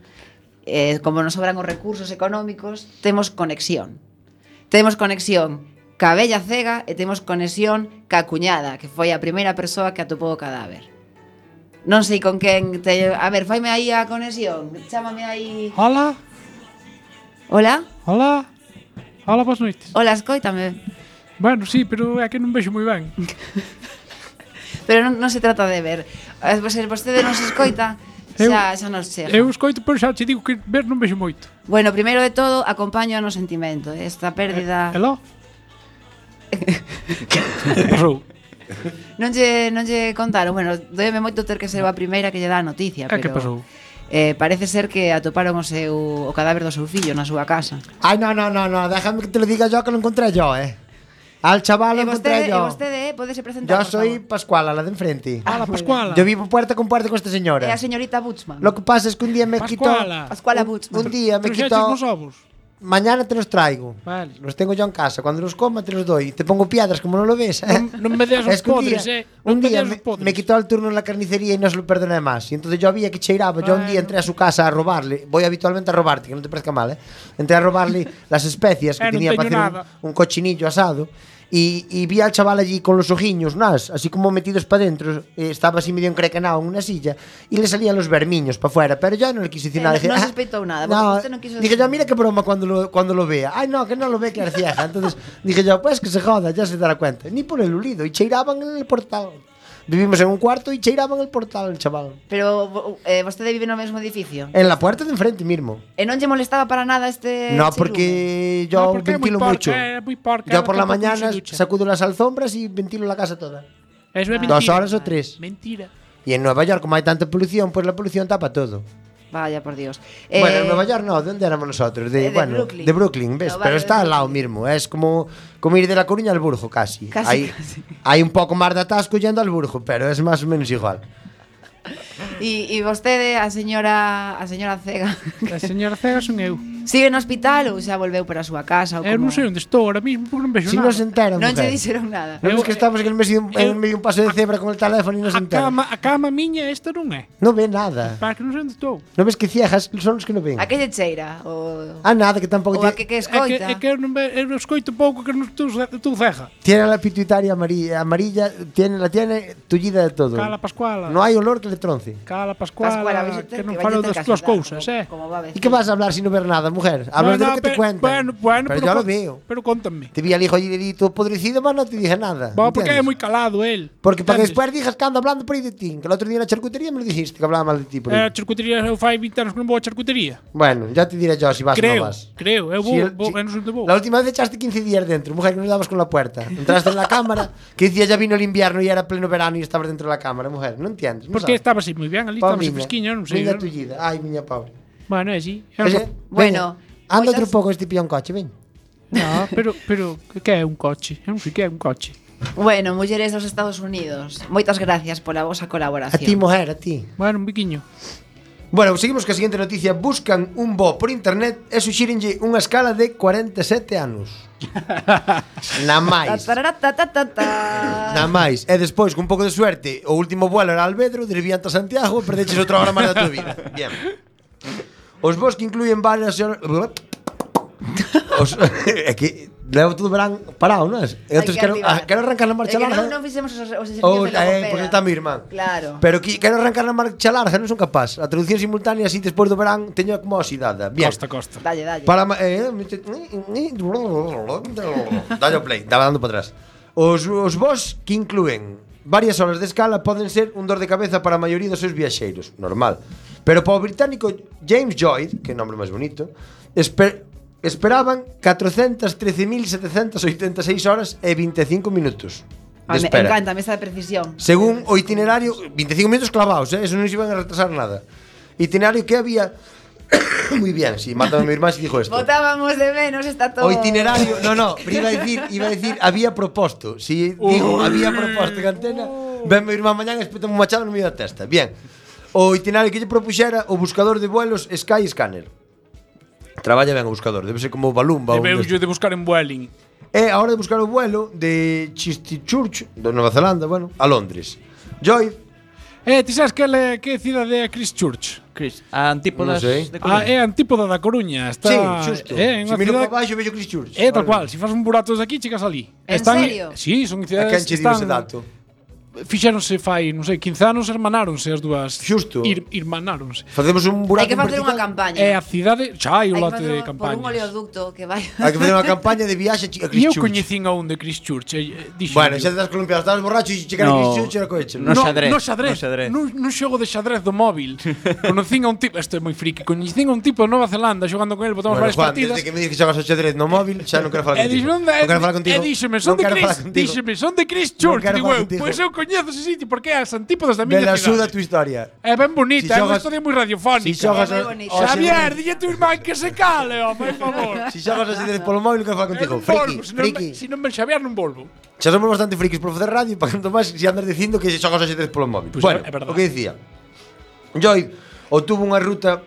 Speaker 5: eh, Como nos sobran os recursos económicos Temos conexión Temos conexión ca bella cega E temos conexión ca cuñada Que foi a primeira persoa que atopou o cadáver Non sei con quen te... A ver, faime aí a conexión Chámame aí
Speaker 7: Hola,
Speaker 5: Hola?
Speaker 7: hola. Hola, boas noites.
Speaker 5: Ola, escoítame.
Speaker 7: Bueno, sí, pero é que non vexo moi ben.
Speaker 5: Pero non, non se trata de ver. Eh, pois Se vostede non se escoita, xa, xa nos chega.
Speaker 7: Eu escoito, pero xa te digo que ver non vexo moito.
Speaker 5: Bueno, primeiro de todo, acompaño no sentimento. Esta pérdida...
Speaker 7: Eh, Hello? que pasou?
Speaker 5: Non lle, non lle contaron. Bueno, doeme moito ter que ser a primeira que lle dá a noticia.
Speaker 7: Ah,
Speaker 5: pero,
Speaker 7: que pasou?
Speaker 5: Eh, parece ser que atoparon o seu o cadáver do seu fillo na súa casa.
Speaker 4: Ai, no, no, no, no, déjame que te lo diga yo que lo encontré yo, eh. Al chaval lo
Speaker 5: e
Speaker 4: encontré
Speaker 5: vostede, e
Speaker 4: yo.
Speaker 5: vostede eh, podese presentar,
Speaker 4: Yo
Speaker 5: por
Speaker 4: soy
Speaker 5: favor.
Speaker 4: Pascuala, la de enfrente.
Speaker 5: moi
Speaker 7: Hola, Ah, Pascuala.
Speaker 4: Yo vivo puerta con puerta con esta
Speaker 5: É
Speaker 4: señora.
Speaker 5: E a señorita Butzman.
Speaker 4: Lo que pasa es que un día me quitó...
Speaker 7: Pascuala.
Speaker 5: Pascuala
Speaker 4: un,
Speaker 5: Butzman.
Speaker 4: un día me
Speaker 7: Trouxeches
Speaker 4: quitó...
Speaker 7: nos ovos.
Speaker 4: Mañana te los traigo.
Speaker 7: Vale.
Speaker 4: Los tengo yo en casa. Cuando los coma te los doy. Te pongo piedras como no lo ves.
Speaker 7: Non, non me deas os
Speaker 4: Es que un día,
Speaker 7: podres, eh. Non
Speaker 4: un
Speaker 7: me
Speaker 4: día
Speaker 7: deas os
Speaker 4: me,
Speaker 7: podres.
Speaker 4: me quitó el turno en la carnicería y no se lo perdoné más. Y entonces yo había que cheiraba. Yo un día entré a su casa a robarle. Voy habitualmente a robarte, que no te parezca mal, ¿eh? Entré a robarle las especias que
Speaker 7: Eh, no
Speaker 4: tenía para
Speaker 7: teño
Speaker 4: hacer
Speaker 7: nada.
Speaker 4: un, un cochinillo asado. Y, y vi al chaval allí con los ojiños, nas, así como metidos para adentro. Eh, estaba así medio encrecanado en una silla. Y le salían los vermiños para afuera. Pero yo no le quise decir
Speaker 5: Eh,
Speaker 4: nada.
Speaker 5: no-
Speaker 4: Dije,
Speaker 5: no
Speaker 4: "Ah".
Speaker 5: sospechó nada, porque usted no quiso
Speaker 4: Dije
Speaker 5: decir
Speaker 4: yo,
Speaker 5: nada.
Speaker 4: mira qué broma cuando lo, cuando lo vea. Ay, no, que no lo ve, que era ciega. Entonces dije yo, pues que se joda, ya se dará cuenta. Ni por el ulido. Y cheiraban en el portal. Vivimos en un cuarto y cheiraban en el portal, el chaval.
Speaker 5: Pero vo- eh, vostede vive no mesmo edificio.
Speaker 4: En la puerta de enfrente mismo.
Speaker 5: E non lle molestaba para nada este
Speaker 4: no,
Speaker 5: chirume?
Speaker 4: porque
Speaker 7: No,
Speaker 4: yo
Speaker 7: porque é moi
Speaker 4: ventilo
Speaker 7: porca,
Speaker 4: mucho.
Speaker 7: é moi porca,
Speaker 4: yo
Speaker 7: ela
Speaker 4: por la
Speaker 7: tampouco se
Speaker 4: mañana
Speaker 7: ducha.
Speaker 4: sacudo las alfombras y ventilo la casa toda.
Speaker 7: Eso é mentira. Ah,
Speaker 4: Dos horas o tres.
Speaker 7: Mentira.
Speaker 4: Y en Nueva York, como hay tanta polución, pues la polución tapa todo.
Speaker 5: Vaya, por Dios.
Speaker 4: Bueno,
Speaker 5: Eh,
Speaker 4: en Nueva York no, ¿de dónde éramos nosotros? De,
Speaker 5: eh, de
Speaker 4: bueno,
Speaker 5: Brooklyn.
Speaker 4: de Brooklyn, ¿ves?
Speaker 5: No, vale,
Speaker 4: Pero
Speaker 5: de
Speaker 4: está al lado
Speaker 5: Brooklyn.
Speaker 4: mismo, es como, como ir de La Coruña al Burgo, casi.
Speaker 5: Casi,
Speaker 4: hay,
Speaker 5: casi.
Speaker 4: hay un poco más de atasco yendo al Burgo, pero es más o menos igual.
Speaker 5: E, e vostede, a señora, a señora Cega,
Speaker 7: A señora Cegas son eu.
Speaker 5: sigue no hospital ou xa volveu para a súa casa? Ou
Speaker 7: Eu
Speaker 5: como...
Speaker 7: non sei onde estou ahora mismo, porque non vexo
Speaker 4: Ah, Si
Speaker 7: nada.
Speaker 4: no se enteran,
Speaker 5: Non lle
Speaker 4: mujer.
Speaker 5: dixeron nada.
Speaker 4: ¿No
Speaker 7: Eu-
Speaker 4: ves que estamos en el medio, de un- en
Speaker 7: eu-
Speaker 4: medio de un paso de cebra con el teléfono y no se
Speaker 7: a
Speaker 4: enteran?
Speaker 7: cama, a cama miña esta non é.
Speaker 4: No ve nada.
Speaker 7: Para que non sei onde estou.
Speaker 4: ¿No ves que ciegas son los que no ven?
Speaker 5: A que lle cheira? O,
Speaker 4: Ah, nada, que tampoco
Speaker 5: ou a
Speaker 4: tiene,
Speaker 5: que, que
Speaker 7: É que,
Speaker 5: escoita?
Speaker 7: é que eu, non ve, eu escoito pouco que non estou, ce- estou ceja.
Speaker 4: tiene la pituitaria amarilla, amarilla tiene, la tiene tullida de todo.
Speaker 7: Cala Pascuala.
Speaker 4: No hay olor que le tronce.
Speaker 7: Cala Pascuala,
Speaker 5: vais ter-
Speaker 7: que non
Speaker 5: vais
Speaker 7: falo
Speaker 5: ter
Speaker 7: das
Speaker 5: que
Speaker 7: túas
Speaker 5: axudar,
Speaker 7: cousas,
Speaker 5: como-
Speaker 7: eh.
Speaker 5: Como va a ver.
Speaker 4: ¿Y qué vas a hablar si no ver nada, mujer? Hablas de lo
Speaker 7: No, no,
Speaker 4: que te
Speaker 7: pe-
Speaker 4: cuentan.
Speaker 7: Bueno, bueno,
Speaker 4: pero yo
Speaker 7: con-
Speaker 4: lo veo.
Speaker 7: Pero pues contame.
Speaker 4: Te vi al hijo allí todo podrecido, mas no te dije nada.
Speaker 7: Bo, porque é
Speaker 4: ¿entiendes?
Speaker 7: moi calado el.
Speaker 4: Porque para que
Speaker 7: entendes?
Speaker 4: después digas que ando hablando por ahí de ti. Que el otro día en la charcutería me lo dijiste que hablaba mal de ti por ahí.
Speaker 7: Eh, a charcutería, eu fai 20 anos que non vou a charcutería.
Speaker 4: bueno, ya te diré yo si vas o no
Speaker 7: creo,
Speaker 4: vas.
Speaker 7: creo, eu
Speaker 4: Si
Speaker 7: vou,
Speaker 4: el-
Speaker 7: vou,
Speaker 4: si-
Speaker 7: eu non sei onde vou.
Speaker 4: La última vez echaste 15 días dentro, mujer, que nos dabas con la puerta. Entraste en la cámara, que decía ya vino el invierno y era pleno verano y estabas dentro de la cámara, mujer. No entiendes. no
Speaker 7: Porque
Speaker 4: sabes.
Speaker 7: estaba así moi ben, ali
Speaker 4: Pobre
Speaker 7: estaba así
Speaker 4: miña,
Speaker 7: fresquiño, non sei.
Speaker 4: miña
Speaker 7: eu-
Speaker 4: tullida. Ay, miña pobre.
Speaker 7: Bueno, é así. eu
Speaker 4: Oye,
Speaker 7: non-
Speaker 5: Bueno,
Speaker 4: veña, anda
Speaker 5: moitas-
Speaker 4: otro poco este pillón coche, ven.
Speaker 7: No, pero, pero que é un coche? Eu non sei que é un coche.
Speaker 5: Bueno, mulleres dos Estados Unidos, moitas gracias pola
Speaker 4: A
Speaker 5: vosa
Speaker 4: ti,
Speaker 5: colaboración.
Speaker 4: mujer, a ti.
Speaker 7: Bueno, un biquiño.
Speaker 4: Bueno, seguimos ca siguiente noticia. Buscan un bo por internet e suxírenlle unha escala de 47 anos. Na máis. Na
Speaker 5: Tataratatata.
Speaker 4: máis. E despois, cun pouco de suerte, o último vuelo era Albedro, desviante a Santiago e perdeches outra hora máis da túa vida. Bien. Os bos que incluyen varias... hor- Os... É que levo todo o verán parado, non es? E
Speaker 5: Hai
Speaker 4: outros
Speaker 5: que
Speaker 4: quero,
Speaker 5: activar.
Speaker 4: ah, quero arrancar na marcha
Speaker 5: É que
Speaker 4: larga.
Speaker 5: non, non fixemos os, os
Speaker 4: Oh,
Speaker 5: exercicios de la
Speaker 4: eh,
Speaker 5: bombera.
Speaker 4: porque está mi irmán.
Speaker 5: Claro.
Speaker 4: Pero qui- quero arrancar na marcha larga, non son capaz. A traducción simultánea así despois do verán teño como oxidada. Bien.
Speaker 7: Costa, costa.
Speaker 5: Dalle, dalle.
Speaker 4: Para ma- eh, mete- Dalle ao play, daba dando para atrás. Os os vos que incluen varias horas de escala poden ser un dor de cabeza para a maioría dos seus viaxeiros, normal. Pero para o británico James Joyd, que nome máis bonito, esper esperaban 413.786 horas e 25 minutos.
Speaker 5: Ah,
Speaker 4: de
Speaker 5: me
Speaker 4: espera.
Speaker 5: encanta, esa precisión.
Speaker 4: Según o itinerario, 25 minutos clavados, eh, eso non se iban a retrasar nada. Itinerario que había Muy bien, si sí, mátame mi irmán si dijo esto.
Speaker 5: Votábamos de menos, está todo.
Speaker 4: O itinerario, no, no, pero iba a decir, iba a decir había proposto. Si digo había proposto que antena, ven mi irmán mañán espetame un machado no medio da testa. Bien. O itinerario que lle propuxera o buscador de vuelos Sky Scanner. Traballa ben o buscador, debe ser como Balumba ou un
Speaker 7: Debeu
Speaker 4: destes.
Speaker 7: yo de buscar en Vueling.
Speaker 4: É a hora de buscar o vuelo de Christchurch, de Nova Zelanda, bueno, a Londres. Joy,
Speaker 7: Eh, ti sabes que é que cidade é Christchurch?
Speaker 10: Chris, a antípodas
Speaker 4: Non sei.
Speaker 10: de Coruña.
Speaker 7: Ah, é a antípoda da Coruña,
Speaker 4: sí,
Speaker 7: está
Speaker 4: xusto.
Speaker 7: É, eh, en
Speaker 4: Se
Speaker 7: unha
Speaker 4: miro
Speaker 7: cidade
Speaker 4: para baixo vello Christchurch.
Speaker 7: É tal
Speaker 4: Vale.
Speaker 7: cual, se fas un burato desde aquí, chegas ali.
Speaker 5: En serio?
Speaker 7: Sí, son
Speaker 4: A
Speaker 7: cidades
Speaker 4: quen che
Speaker 7: que
Speaker 4: digo ese
Speaker 7: están
Speaker 4: dato?
Speaker 7: fixéronse fai, non sei, 15 anos hermanáronse as dúas.
Speaker 4: Xusto.
Speaker 7: Ir, irmanáronse.
Speaker 4: Facemos un burato
Speaker 5: Hai que facer unha
Speaker 4: vertical.
Speaker 5: campaña.
Speaker 7: É a cidade, xa
Speaker 5: Hai que
Speaker 7: hai o Eh, lote
Speaker 5: facer unha-
Speaker 7: de
Speaker 5: por un
Speaker 7: campañas.
Speaker 5: oleoducto que vai.
Speaker 4: Hai que facer unha campaña de viaxe a
Speaker 7: E eu
Speaker 4: Christchurch.
Speaker 7: coñecín a un de eh, Christchurch, e, e, dixen,
Speaker 4: Bueno, xa te das columpiado, estabas borracho e chegar a
Speaker 10: No.
Speaker 4: Christchurch era coche.
Speaker 10: No
Speaker 7: no,
Speaker 10: xadrez,
Speaker 7: no xadrez,
Speaker 10: no xadrez.
Speaker 7: nun, nun xogo de xadrez do móvil. Conocín a un tipo, isto é moi friki, coñecín a un tipo de Nova Zelanda xogando con el,
Speaker 4: Bueno,
Speaker 7: botamos varias
Speaker 4: Juan,
Speaker 7: partidas.
Speaker 4: desde que me dixes que xogas ao xadrez no móvil, xa non quero falar
Speaker 7: E
Speaker 4: contigo.
Speaker 7: dixen,
Speaker 4: non quero falar
Speaker 7: e
Speaker 4: contigo.
Speaker 7: díxeme,
Speaker 4: non
Speaker 7: son de
Speaker 4: quero falar
Speaker 7: Chris,
Speaker 4: contigo.
Speaker 7: díxeme, son de Chris Church,
Speaker 4: quero
Speaker 7: digo
Speaker 4: falar
Speaker 7: eu,
Speaker 4: contigo.
Speaker 7: pois eu coñezo ese sitio, porque é as antípodas da
Speaker 4: Me la
Speaker 7: miña
Speaker 4: suda a
Speaker 7: cidade.
Speaker 4: tua historia.
Speaker 7: É ben bonita,
Speaker 4: Si
Speaker 7: é
Speaker 4: xogas-
Speaker 7: unha historia moi radiofónica.
Speaker 4: Si xogas
Speaker 5: É moi
Speaker 4: ao-
Speaker 5: bonito.
Speaker 4: ao
Speaker 7: Xavier,
Speaker 4: xadrez-
Speaker 7: dille a tu irmán que se cale, ó, por favor.
Speaker 4: Si xogas ao xadrez polo móvil, non quero falar
Speaker 7: Eu
Speaker 4: contigo.
Speaker 7: non
Speaker 4: Friki,
Speaker 7: volvo, se non
Speaker 4: friki.
Speaker 7: me- se non me Xavier non volvo.
Speaker 4: Xa somos bastante frikis por facer radio, para canto máis si andas dicindo que xogas ao xadrez polo móvil.
Speaker 7: Pois
Speaker 4: bueno,
Speaker 7: é
Speaker 4: o
Speaker 7: verdade.
Speaker 4: que dicía. Joy obtuvo unha ruta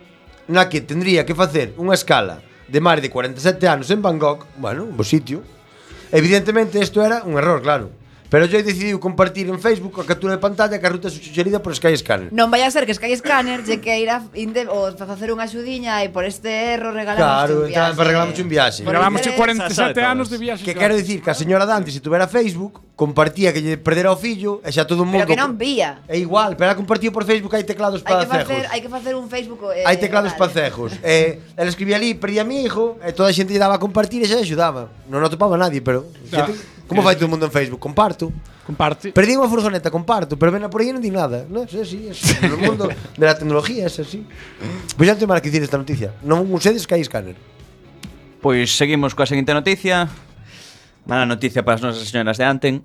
Speaker 4: na que tendría que facer unha escala de máis de 47 anos en Bangkok, bueno, un bo sitio. Evidentemente, isto era un error, claro. Pero Joy decidiu compartir en Facebook a captura de pantalla que a ruta suxerida por Sky Scanner.
Speaker 5: Non vai a ser que Sky Scanner lle queira inde ou fa- facer unha axudiña e por este erro regalamos
Speaker 4: Claro,
Speaker 5: un viaxe.
Speaker 4: entá, regalamos un viaxe.
Speaker 5: Por
Speaker 7: Grabamos
Speaker 5: interés,
Speaker 7: 47
Speaker 10: todas.
Speaker 7: anos de viaxe.
Speaker 4: Que quero dicir que a señora Dante, se tuvera Facebook, compartía que lle perdera o fillo e xa todo o mundo...
Speaker 5: Pero que non vía.
Speaker 4: É igual, pero era compartido por Facebook, hai teclados para
Speaker 5: Hai que facer,
Speaker 4: cejos.
Speaker 5: hai que facer un Facebook eh,
Speaker 4: Hai teclados
Speaker 5: vale.
Speaker 4: para cejos. Eh, el escribía ali, perdí a mi hijo, e toda a xente lle daba a compartir e xa lle axudaba. Non o topaba nadie, pero...
Speaker 7: Ya.
Speaker 4: Xente, como fai todo o mundo en Facebook? Comparto.
Speaker 7: Comparte.
Speaker 4: Perdí unha furgoneta, comparto, pero ven a por aí e non di nada. Non sei, sí, es, no mundo de la tecnología, es así. Pois xa non ten máis que dicir esta noticia. Non usedes que hai escáner.
Speaker 10: Pois seguimos coa seguinte noticia. Mala noticia para as nosas señoras de Anten.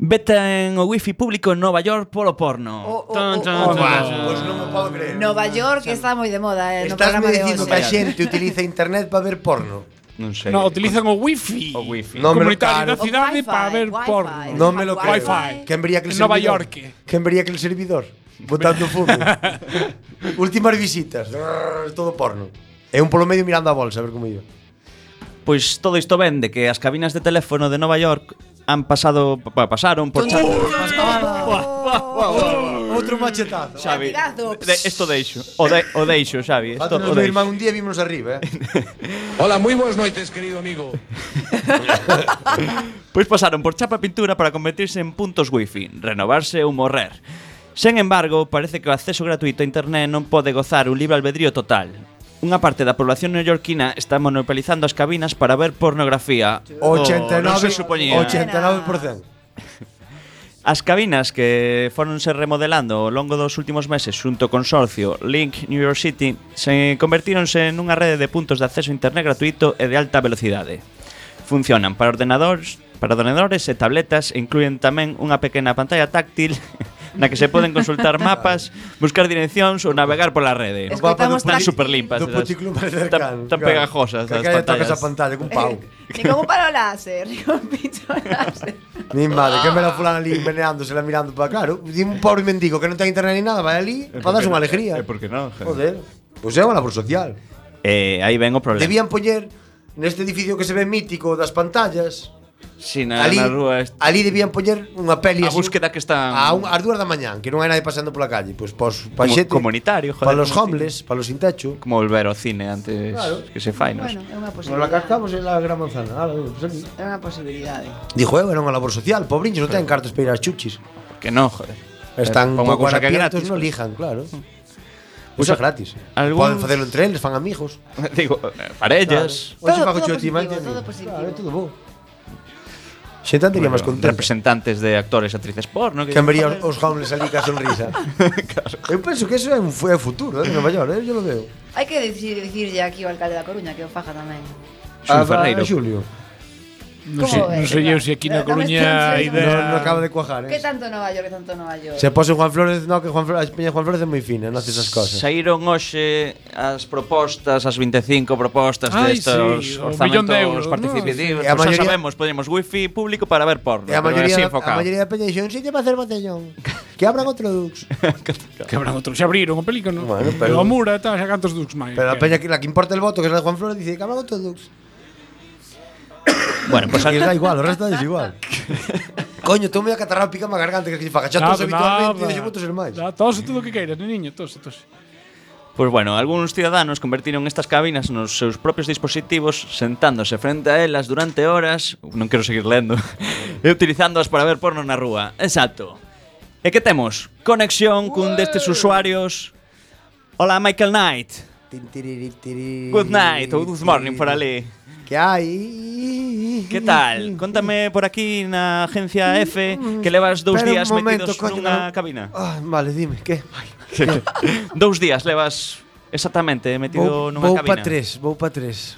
Speaker 10: Beta en o wifi público en Nova York polo porno.
Speaker 5: O, o,
Speaker 7: Tan,
Speaker 5: o, o,
Speaker 7: tan, tan.
Speaker 4: Pois non me podo creer.
Speaker 5: Nova York está moi de moda, eh, no
Speaker 4: Estás
Speaker 5: programa
Speaker 4: me
Speaker 5: de
Speaker 4: dicindo que
Speaker 5: hoxe.
Speaker 4: a xente utiliza internet para ver porno.
Speaker 10: Non sei.
Speaker 7: No, utilizan o wifi.
Speaker 10: o wifi.
Speaker 4: No me lo-
Speaker 7: comunitario da
Speaker 4: claro.
Speaker 7: cidade
Speaker 5: O
Speaker 7: para
Speaker 5: wifi,
Speaker 7: ver
Speaker 5: wifi.
Speaker 7: porno.
Speaker 4: Non me lo creo.
Speaker 7: Wi-Fi.
Speaker 4: Quen vería aquel
Speaker 7: En Nova
Speaker 4: servidor?
Speaker 7: York.
Speaker 4: Quen vería aquel servidor? Botando fumo. Últimas visitas. Brrr, Todo porno. É un polo medio mirando a bolsa, a ver como iba.
Speaker 10: Pois todo isto ven de que as cabinas de teléfono de Nova York han pasado pa, pasaron por chat.
Speaker 4: Outro machetazo.
Speaker 10: Xavi.
Speaker 5: Latigazo.
Speaker 10: De, esto deixo. O, de, o deixo, Xavi. Esto,
Speaker 4: Pátanos
Speaker 10: o
Speaker 4: do
Speaker 10: deixo.
Speaker 4: irmán un día e vimos arriba, eh.
Speaker 2: Hola, muy buenas noites, querido amigo.
Speaker 10: Pois pasaron por chapa pintura para convertirse en puntos wifi, renovarse ou morrer. Sen embargo, parece que o acceso gratuito a internet non pode gozar un libre albedrío total. Unha parte da población neoyorquina está monopolizando as cabinas para ver pornografía. Oh, non se
Speaker 4: 89,
Speaker 10: supoñía.
Speaker 4: 89%.
Speaker 10: As cabinas que foronse remodelando ao longo dos últimos meses xunto con Sorcio, Link New York City se convertíronse nunha rede de puntos de acceso a internet gratuito e de alta velocidade. Funcionan para ordenadores, para ordenadores e tabletas e incluen tamén unha pequena pantalla táctil na que se poden consultar mapas, buscar direccións ou navegar pola rede.
Speaker 5: Escoitamos
Speaker 10: Están
Speaker 5: tamén-
Speaker 10: super limpas.
Speaker 4: Do puticlub máis cercano.
Speaker 10: tan pegajosas
Speaker 4: Que
Speaker 10: as
Speaker 4: aquella tocas a pantalla
Speaker 10: pantallas.
Speaker 4: cun pau.
Speaker 5: Ni con un palo láser, ni con un pincho láser.
Speaker 4: Mi madre, que me la fulana ali meneándosela mirando para claro. Di un pobre mendigo que non ten internet ni nada, vai ali para darse unha alegría.
Speaker 8: Eh, por que non?
Speaker 4: Joder, pois é unha labor social.
Speaker 10: Eh, aí ven o problema.
Speaker 4: Debían poñer neste edificio que se ve mítico das pantallas,
Speaker 10: Si, na,
Speaker 4: ali,
Speaker 10: na rúa est-
Speaker 4: ali debían poñer unha
Speaker 8: A
Speaker 4: peli así,
Speaker 8: búsqueda que está
Speaker 4: a un, as dúas da mañán, que non hai nadie pasando pola calle, pois pues, pos
Speaker 10: como,
Speaker 4: paxete,
Speaker 10: comunitario, joder.
Speaker 4: para los
Speaker 10: como-
Speaker 4: homeless, para los sin techo.
Speaker 10: Como volver ao cine antes
Speaker 4: Claro.
Speaker 10: que se fai, nos.
Speaker 5: Bueno, é
Speaker 4: Nos la
Speaker 5: unha posibilidade.
Speaker 4: cartamos en la gran manzana. Ala, pues aquí.
Speaker 5: É unha posibilidade.
Speaker 4: Dijo, eh, era unha labor social, pobriños, non ten cartas para ir ás chuchis.
Speaker 10: Que non, joder.
Speaker 4: Están
Speaker 10: Pon
Speaker 4: un
Speaker 10: unha
Speaker 4: pouco
Speaker 10: cousa que é
Speaker 4: harapientos,
Speaker 10: gratis,
Speaker 4: non
Speaker 10: joder.
Speaker 4: lijan, claro.
Speaker 10: Pois
Speaker 4: Usa
Speaker 10: a-
Speaker 4: gratis. Poden
Speaker 10: algúns-
Speaker 4: facelo entre eles, fan amigos.
Speaker 10: Digo, eh, parellas.
Speaker 4: Hoxe
Speaker 5: Todo-
Speaker 4: fago
Speaker 5: todo
Speaker 4: chuti,
Speaker 5: positivo,
Speaker 4: man,
Speaker 5: todo
Speaker 4: entiendes?
Speaker 5: positivo.
Speaker 4: Claro, é todo bo. Xente andaría máis contenta.
Speaker 10: representantes de actores e actrices porno que
Speaker 4: Que vería os- os homeless ali ca sonrisa. Eu penso que eso é un fu- é o futuro de Nova York, eh, yo lo veo.
Speaker 5: Hai que dicir, dicirlle aquí ao alcalde da Coruña que o faja tamén.
Speaker 10: Xulio
Speaker 4: Ah, va,
Speaker 10: Ferreiro.
Speaker 4: Xulio.
Speaker 7: Non
Speaker 5: Como
Speaker 7: sei,
Speaker 5: ves,
Speaker 7: non sei
Speaker 5: Iván?
Speaker 7: eu se aquí na
Speaker 5: Dame
Speaker 7: Coruña a
Speaker 5: chance,
Speaker 4: Non
Speaker 7: idea...
Speaker 4: non acaba de cuajar,
Speaker 5: Que
Speaker 4: eh.
Speaker 5: tanto Nova York, que tanto Nova York.
Speaker 4: Se pose Juan Flores, no, que Juan Flores, a Peña Juan Flores é moi fina, non hace esas cosas.
Speaker 10: Saíron hoxe as propostas, as 25 propostas
Speaker 7: Ai,
Speaker 10: destos
Speaker 7: sí, o
Speaker 10: orzamentos
Speaker 7: millón de euros, ¿no?
Speaker 10: participativos.
Speaker 4: E a
Speaker 10: Pois
Speaker 4: maioría-
Speaker 10: xa sabemos, podemos wifi público para ver porno.
Speaker 4: E a
Speaker 10: pero
Speaker 4: maioría,
Speaker 10: así
Speaker 4: da- a
Speaker 10: enfocado.
Speaker 4: maioría da peña dixo, un sitio para hacer botellón. Que abran outro Dux.
Speaker 7: Que habrán outros, xa abriron o pelícano.
Speaker 4: Bueno,
Speaker 7: Bueno,
Speaker 4: pero-
Speaker 7: pero... O Mura e tal, xa cantos dux máis.
Speaker 4: Pero a
Speaker 7: Que-
Speaker 4: peña que, la que importa el voto, que es la de Juan Flores, dice que abran outro Dux.
Speaker 10: Bueno, pues
Speaker 4: Que da igual, o resto da igual. Coño, estou medio acatarrado, pica má garganta, que se faga xa tos
Speaker 7: Nada,
Speaker 4: habitualmente,
Speaker 7: nada.
Speaker 4: e deixo votos el máis.
Speaker 7: Da, Tose todo o que queiras, niño, tose, tose.
Speaker 10: Pois bueno, algúns ciudadanos convertiron estas cabinas nos seus propios dispositivos sentándose frente a elas durante horas, non quero seguir lendo, e utilizándoas para ver porno na rúa. Exacto. E que temos? Conexión cun destes usuarios. Hola, Michael Knight.
Speaker 4: Tin, tiriri, tiriri,
Speaker 10: Good night ou good morning por ali.
Speaker 4: Que hai?
Speaker 10: Que tal? Contame por aquí na agencia F que levas dous
Speaker 4: Espera un
Speaker 10: días
Speaker 4: momento,
Speaker 10: metidos
Speaker 4: coño,
Speaker 10: nunha
Speaker 4: que non-
Speaker 10: cabina.
Speaker 4: Ah, vale, dime, que?
Speaker 10: dous días levas exactamente metido
Speaker 4: Vou,
Speaker 10: nunha
Speaker 4: vou
Speaker 10: cabina.
Speaker 4: pa tres, vou pa tres.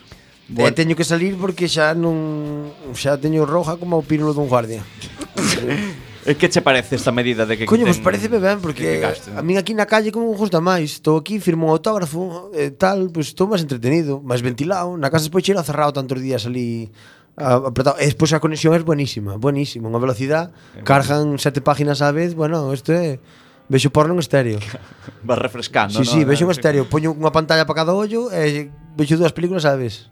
Speaker 4: Bueno.
Speaker 10: Bueno.
Speaker 4: Eh, teño que salir porque xa non xa teño roja como o pínulo dun guardia.
Speaker 10: E Eh, que che parece esta medida de que
Speaker 4: Coño, vos
Speaker 10: quiten-
Speaker 4: pareceme ben
Speaker 10: que- que
Speaker 4: porque
Speaker 10: gasten?
Speaker 4: a min aquí na calle como me gusta máis. Estou aquí, firmo un autógrafo, eh, tal, pois estou máis entretenido, máis ventilado. Na casa despois cheira cerrado tantos días ali a- apretado. E despois a conexión é buenísima, buenísima, unha velocidade. Cargan sete páginas á vez, bueno, isto é vexo porno en estéreo.
Speaker 10: Vas refrescando,
Speaker 4: sí,
Speaker 10: ¿no?
Speaker 4: sí, vexo en estéreo, poño unha pantalla para cada ollo e vexo dúas películas á vez.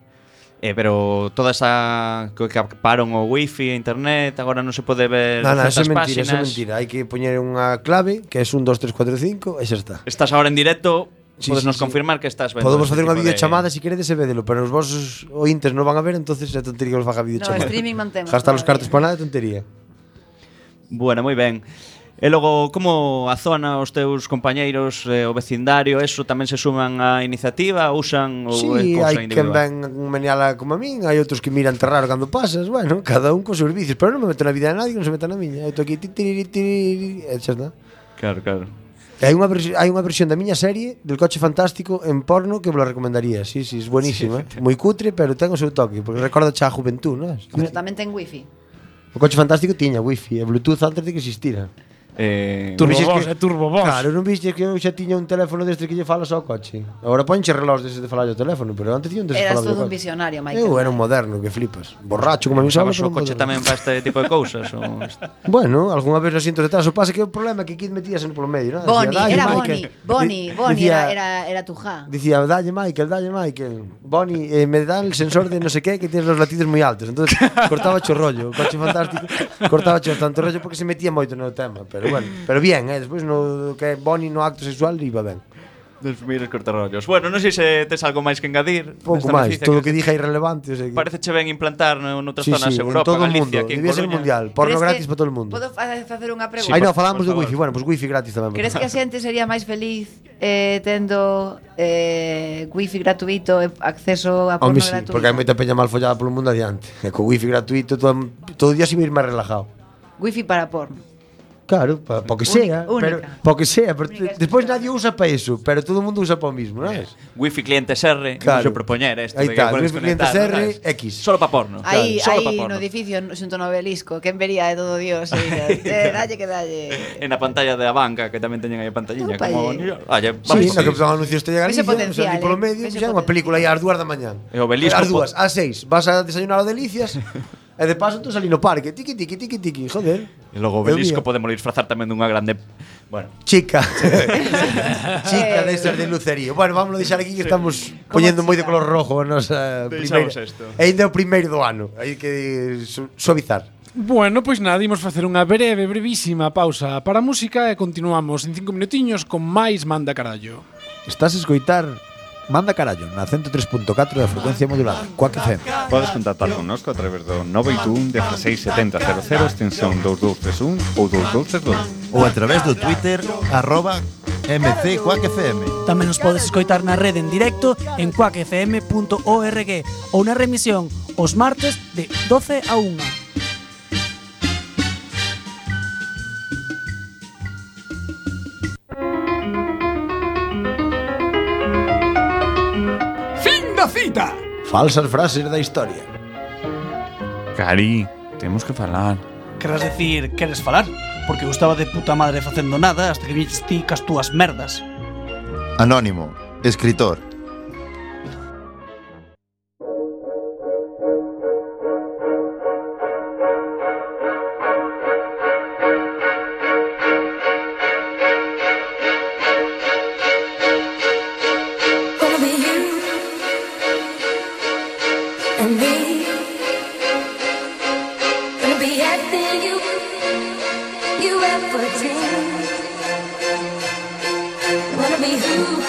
Speaker 10: Eh, pero toda esa co- que acaparon o wifi, a internet, agora non se pode ver
Speaker 4: Nada, eso é
Speaker 10: certas
Speaker 4: mentira, eso é
Speaker 10: páxinas.
Speaker 4: mentira. Hai que poñer unha clave que é un 2 3 4 5 e xa está.
Speaker 10: Estás agora en directo,
Speaker 4: Sí, sí,
Speaker 10: podes
Speaker 4: sí.
Speaker 10: nos confirmar que estás vendo.
Speaker 4: Podemos
Speaker 10: este
Speaker 4: facer unha
Speaker 10: tipo de-
Speaker 4: videochamada se queredes e védelo, pero os vosos ointes non van a ver, entonces é tontería que os faga
Speaker 5: No,
Speaker 4: videochamada.
Speaker 5: streaming mantemos.
Speaker 4: Gastar os cartos para nada é
Speaker 5: todavía.
Speaker 4: tontería.
Speaker 10: Bueno, moi ben. E logo, como a zona, os teus compañeiros, eh, o vecindario, eso tamén se suman á iniciativa, usan ou é
Speaker 4: Si, sí,
Speaker 10: cosa
Speaker 4: hai quen
Speaker 10: individual.
Speaker 4: ven meneala como a min, hai outros que miran te raro cando pasas, bueno, cada un cos seus vicios, pero non me meto na vida de nadie, non se meta na miña. Eu estou aquí ti, tiriri, tiriri, e xa está.
Speaker 10: Claro, claro.
Speaker 4: E Hai unha versi- hai unha versión da miña serie del coche fantástico en porno que vos la recomendaría. Sí, sí, é buenísima. Sí. Moi cutre, pero ten o seu toque, porque recorda xa a juventud, non?
Speaker 5: Pero tamén ten wifi.
Speaker 4: O coche fantástico tiña wifi e bluetooth antes de que existira.
Speaker 10: Eh,
Speaker 4: Tú vixes
Speaker 7: Turbobos,
Speaker 4: que-
Speaker 7: é turbobos.
Speaker 4: Claro, non viste que eu xa tiña un teléfono deste que lle fala só ao coche. Agora ponche relós dese de falar ao teléfono, pero antes tiña un dese
Speaker 5: Eras
Speaker 4: falar ao
Speaker 5: todo un
Speaker 4: coche.
Speaker 5: visionario, Michael.
Speaker 4: Eu era un moderno, que flipas. Borracho como a mí solo,
Speaker 10: Usabas
Speaker 4: pero
Speaker 10: o
Speaker 4: un
Speaker 10: coche
Speaker 4: moderno.
Speaker 10: tamén para este tipo de cousas? ou...
Speaker 4: Bueno, algunha vez no asiento detrás, o pasa que o problema é que Kid metíase no polo medio, non?
Speaker 5: Boni,
Speaker 4: "Dalle,
Speaker 5: era Boni,
Speaker 4: Michael".
Speaker 5: Boni,
Speaker 4: Di-
Speaker 5: Boni
Speaker 4: dicía-
Speaker 5: era, era, era tu ja.
Speaker 4: Dicía, dalle Michael, dalle Michael Bonnie, eh, me da el sensor de no sé qué Que tienes los latidos muy altos Entonces cortaba cho rollo O coche fantástico Cortaba cho tanto rollo Porque se metía moito no tema Pero bueno Pero bien, eh Despois no que Bonnie no acto sexual Iba ben
Speaker 10: Dos mires cortarrollos. Bueno, non sei se tes algo máis que engadir.
Speaker 4: Pouco
Speaker 10: nesta
Speaker 4: máis
Speaker 10: noticia
Speaker 4: Todo o
Speaker 10: que
Speaker 4: que dixe é irrelevante o sea, que...
Speaker 10: Parece ben implantar no- noutras
Speaker 4: sí,
Speaker 10: zonas
Speaker 4: sí,
Speaker 10: de
Speaker 4: en
Speaker 10: Europa,
Speaker 4: todo
Speaker 10: Galicia,
Speaker 4: o mundo
Speaker 10: aquí en
Speaker 4: Debía ser
Speaker 10: Coruña.
Speaker 4: mundial
Speaker 5: Crees
Speaker 4: Porno
Speaker 5: que
Speaker 4: gratis para todo o mundo
Speaker 5: Podo fa- facer unha pregunta?
Speaker 10: Sí,
Speaker 4: Aí non,
Speaker 10: por- por
Speaker 4: falamos do
Speaker 10: favor.
Speaker 4: wifi Bueno, pois pues wifi gratis tamén
Speaker 5: Crees que a xente sería máis feliz eh, tendo eh, wifi gratuito e acceso a
Speaker 4: Home,
Speaker 5: porno
Speaker 4: sí,
Speaker 5: gratuito?
Speaker 4: porque hai moita peña mal follada polo mundo adiante E co wifi gratuito Todo, todo o día se vir máis relajado
Speaker 5: Wifi para porno.
Speaker 4: Claro, pa, pa que
Speaker 5: Única-
Speaker 4: sea,
Speaker 5: única.
Speaker 4: pero pa que sea, pero
Speaker 5: Única
Speaker 4: despois
Speaker 5: exclusiva.
Speaker 4: nadie usa para eso, pero todo o mundo usa para o mismo, non é?
Speaker 10: Wifi clientes R, claro.
Speaker 4: Claro.
Speaker 10: non propoñer isto
Speaker 4: Aí
Speaker 10: de
Speaker 4: está,
Speaker 10: podes
Speaker 4: wifi clientes R,
Speaker 10: conectar, non sabes?
Speaker 4: X.
Speaker 10: Solo para porno.
Speaker 5: Aí,
Speaker 10: Solo pa
Speaker 5: aí no
Speaker 10: porno.
Speaker 5: edificio xunto no obelisco, quen vería de todo Dios, e diría, eh, dalle que dalle.
Speaker 10: En a pantalla da banca, que tamén teñen aí a pantalliña,
Speaker 5: Opa,
Speaker 10: como
Speaker 5: eh.
Speaker 10: New York.
Speaker 4: Sí,
Speaker 10: Oye, vamos.
Speaker 4: no que empezaban anuncios te llegar Galicia, o
Speaker 5: Ese
Speaker 4: sea,
Speaker 5: potencial,
Speaker 4: aquí polo
Speaker 5: eh.
Speaker 4: medio,
Speaker 5: Ese
Speaker 4: xa unha
Speaker 5: potencial.
Speaker 4: película aí ás dúas da mañán.
Speaker 10: E o obelisco,
Speaker 4: Ás dúas,
Speaker 10: po-
Speaker 4: ás seis, vas a desayunar o Delicias, E de paso tú salí no parque, tiqui, tiqui, tiqui, tiqui, joder.
Speaker 8: E logo o
Speaker 4: Eu
Speaker 8: obelisco
Speaker 4: vía.
Speaker 8: podemos disfrazar tamén dunha grande... Bueno,
Speaker 4: Chica.
Speaker 5: Eh.
Speaker 4: Chica destas de lucerío. Bueno, vámonos deixar aquí que estamos poñendo moi de color rojo a nosa primeira.
Speaker 8: Deixamos isto.
Speaker 4: E ainda é o primeiro do ano. Hai que su- suavizar.
Speaker 7: Bueno, pois nada, imos facer unha breve, brevísima pausa para a música e continuamos en cinco minutiños con máis Manda Carallo.
Speaker 1: Estás a escoitar Manda Carallo na 103.4 da frecuencia modulada. Cuac FM.
Speaker 11: Podes contactar connosco a través do 921 167000 extensión 2231 ou 2232.
Speaker 12: ou a través do Twitter arroba mcquackfm.
Speaker 13: Tamén nos podes escoitar na rede en directo en quackfm.org ou na remisión os martes de 12 a 1.
Speaker 14: Fin da cita.
Speaker 1: Falsas frases da historia.
Speaker 8: Cari, temos que falar.
Speaker 13: Querrás decir, queres falar? Porque eu estaba de puta madre facendo nada hasta que viches ti cas túas merdas.
Speaker 12: Anónimo, escritor.
Speaker 6: Over you and me. Gonna be everything you you ever dreamed. Wanna be who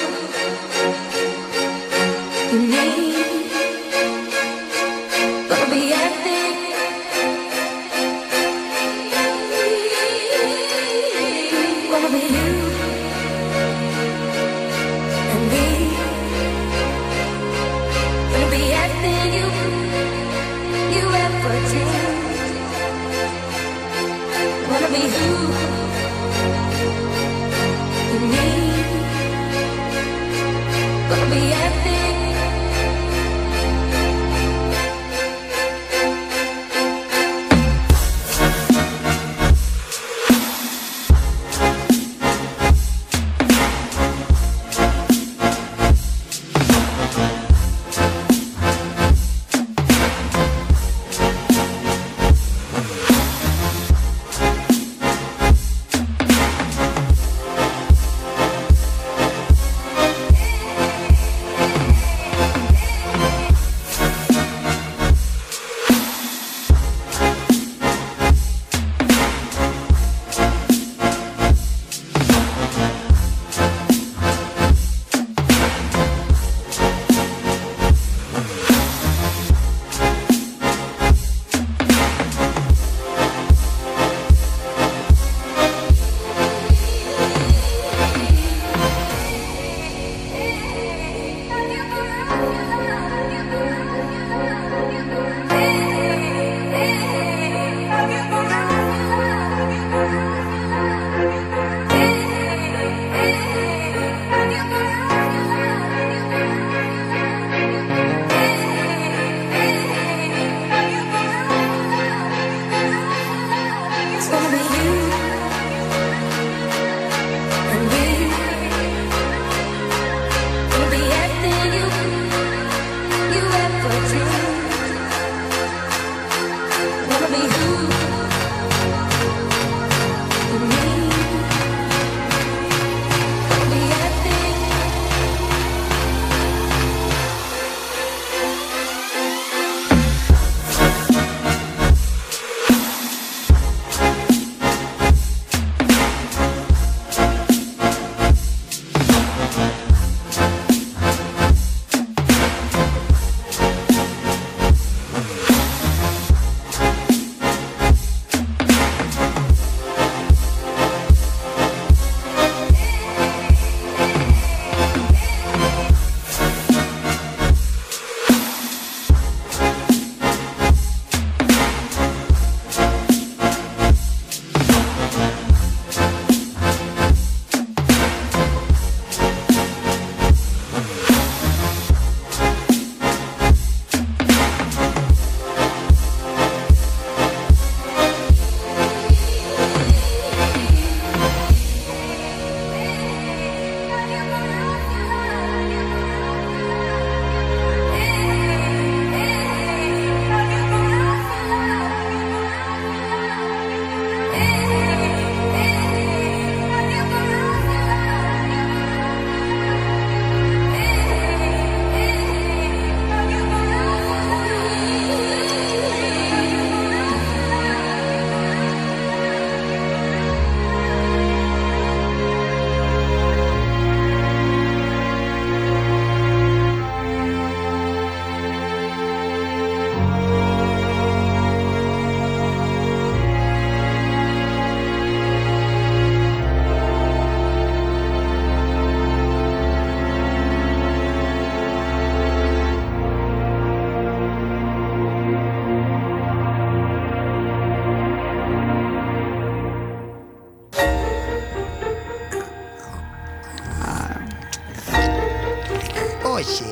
Speaker 14: hoxe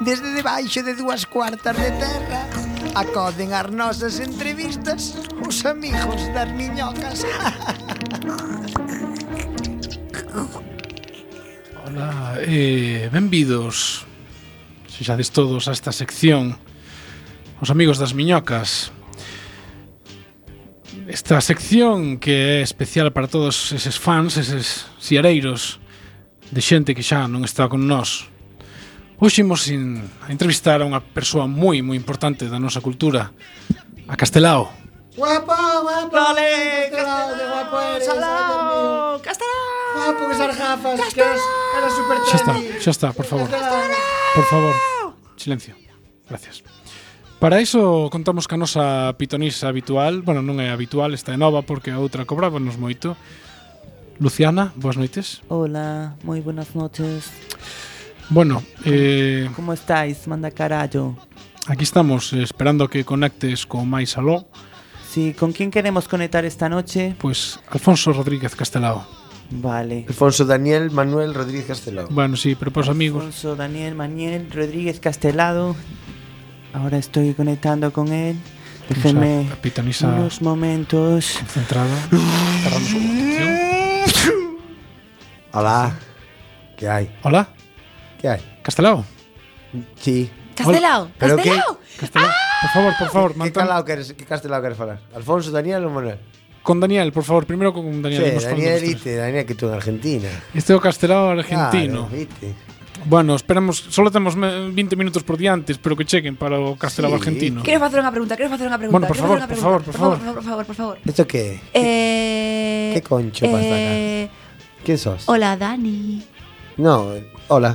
Speaker 14: Desde debaixo de dúas cuartas de terra Acoden as nosas entrevistas Os amigos das miñocas
Speaker 7: Ola, eh, benvidos Sexades todos a esta sección Os amigos das miñocas Esta sección que é especial para todos eses fans, eses siareiros De xente que xa non está con nós Hoxe imos in, a entrevistar a unha persoa moi, moi importante da nosa cultura A Castelao
Speaker 14: Guapo, guapo Dale, castelao, que guapo eres Castelao, castelao Guapo, que esas gafas Que eras, eras super
Speaker 7: Xa está, xa está, por favor Por favor, silencio Gracias Para iso contamos ca nosa pitonisa habitual Bueno, non é habitual, esta é nova porque a outra cobrábanos moito Luciana, boas noites
Speaker 15: Hola, muy buenas noches.
Speaker 7: Bueno, eh,
Speaker 15: ¿Cómo estáis? Manda carallo.
Speaker 7: aquí estamos eh, esperando que conectes con máis aló
Speaker 15: Sí, ¿con quién queremos conectar esta noche?
Speaker 7: Pues Pois, Alfonso Rodríguez Castelao
Speaker 15: Vale.
Speaker 4: Alfonso Daniel Manuel Rodríguez Castelao.
Speaker 7: Bueno, sí, pero para os amigos
Speaker 15: Alfonso, Daniel, Maniel, Rodríguez Castelado. Ahora estoy conectando con él. Déjenme
Speaker 7: Vamos a pitonizar.
Speaker 15: unos momentos.
Speaker 7: Concentrado.
Speaker 4: Hola. ¿Qué hay?
Speaker 7: Hola.
Speaker 4: ¿Qué hay?
Speaker 7: Castelao.
Speaker 4: Sí.
Speaker 5: Castelao,
Speaker 4: Hola. ¿Pero
Speaker 5: Castelao.
Speaker 4: qué?
Speaker 7: Por favor, por favor,
Speaker 4: Ah, ¿Qué, calao quieres, ¿Qué castelao quieres hablar? ¿Alfonso, Daniel o Manuel?
Speaker 7: Con Daniel, por favor, primero con Daniel
Speaker 4: Sí,
Speaker 7: hemos falado
Speaker 4: Daniel,
Speaker 7: los tres.
Speaker 4: viste, Daniel, que tú en Argentina.
Speaker 7: Este é o Castelao argentino
Speaker 4: Claro, viste.
Speaker 7: Bueno, esperamos, solo temos me- 20 minutos por diante, espero que chequen para o Castelao argentino.
Speaker 5: Quero facer unha pregunta, quero facer unha pregunta.
Speaker 7: Bueno, por
Speaker 5: quero
Speaker 7: favor,
Speaker 5: facer unha
Speaker 7: por favor,
Speaker 5: pregunta.
Speaker 7: por favor.
Speaker 5: Por favor, por favor, por favor.
Speaker 4: ¿Esto qué?
Speaker 5: Eh,
Speaker 4: ¿Qué concho pasa
Speaker 5: eh,
Speaker 4: ¿Quién sos?
Speaker 5: Hola, Dani.
Speaker 4: No, eh, hola.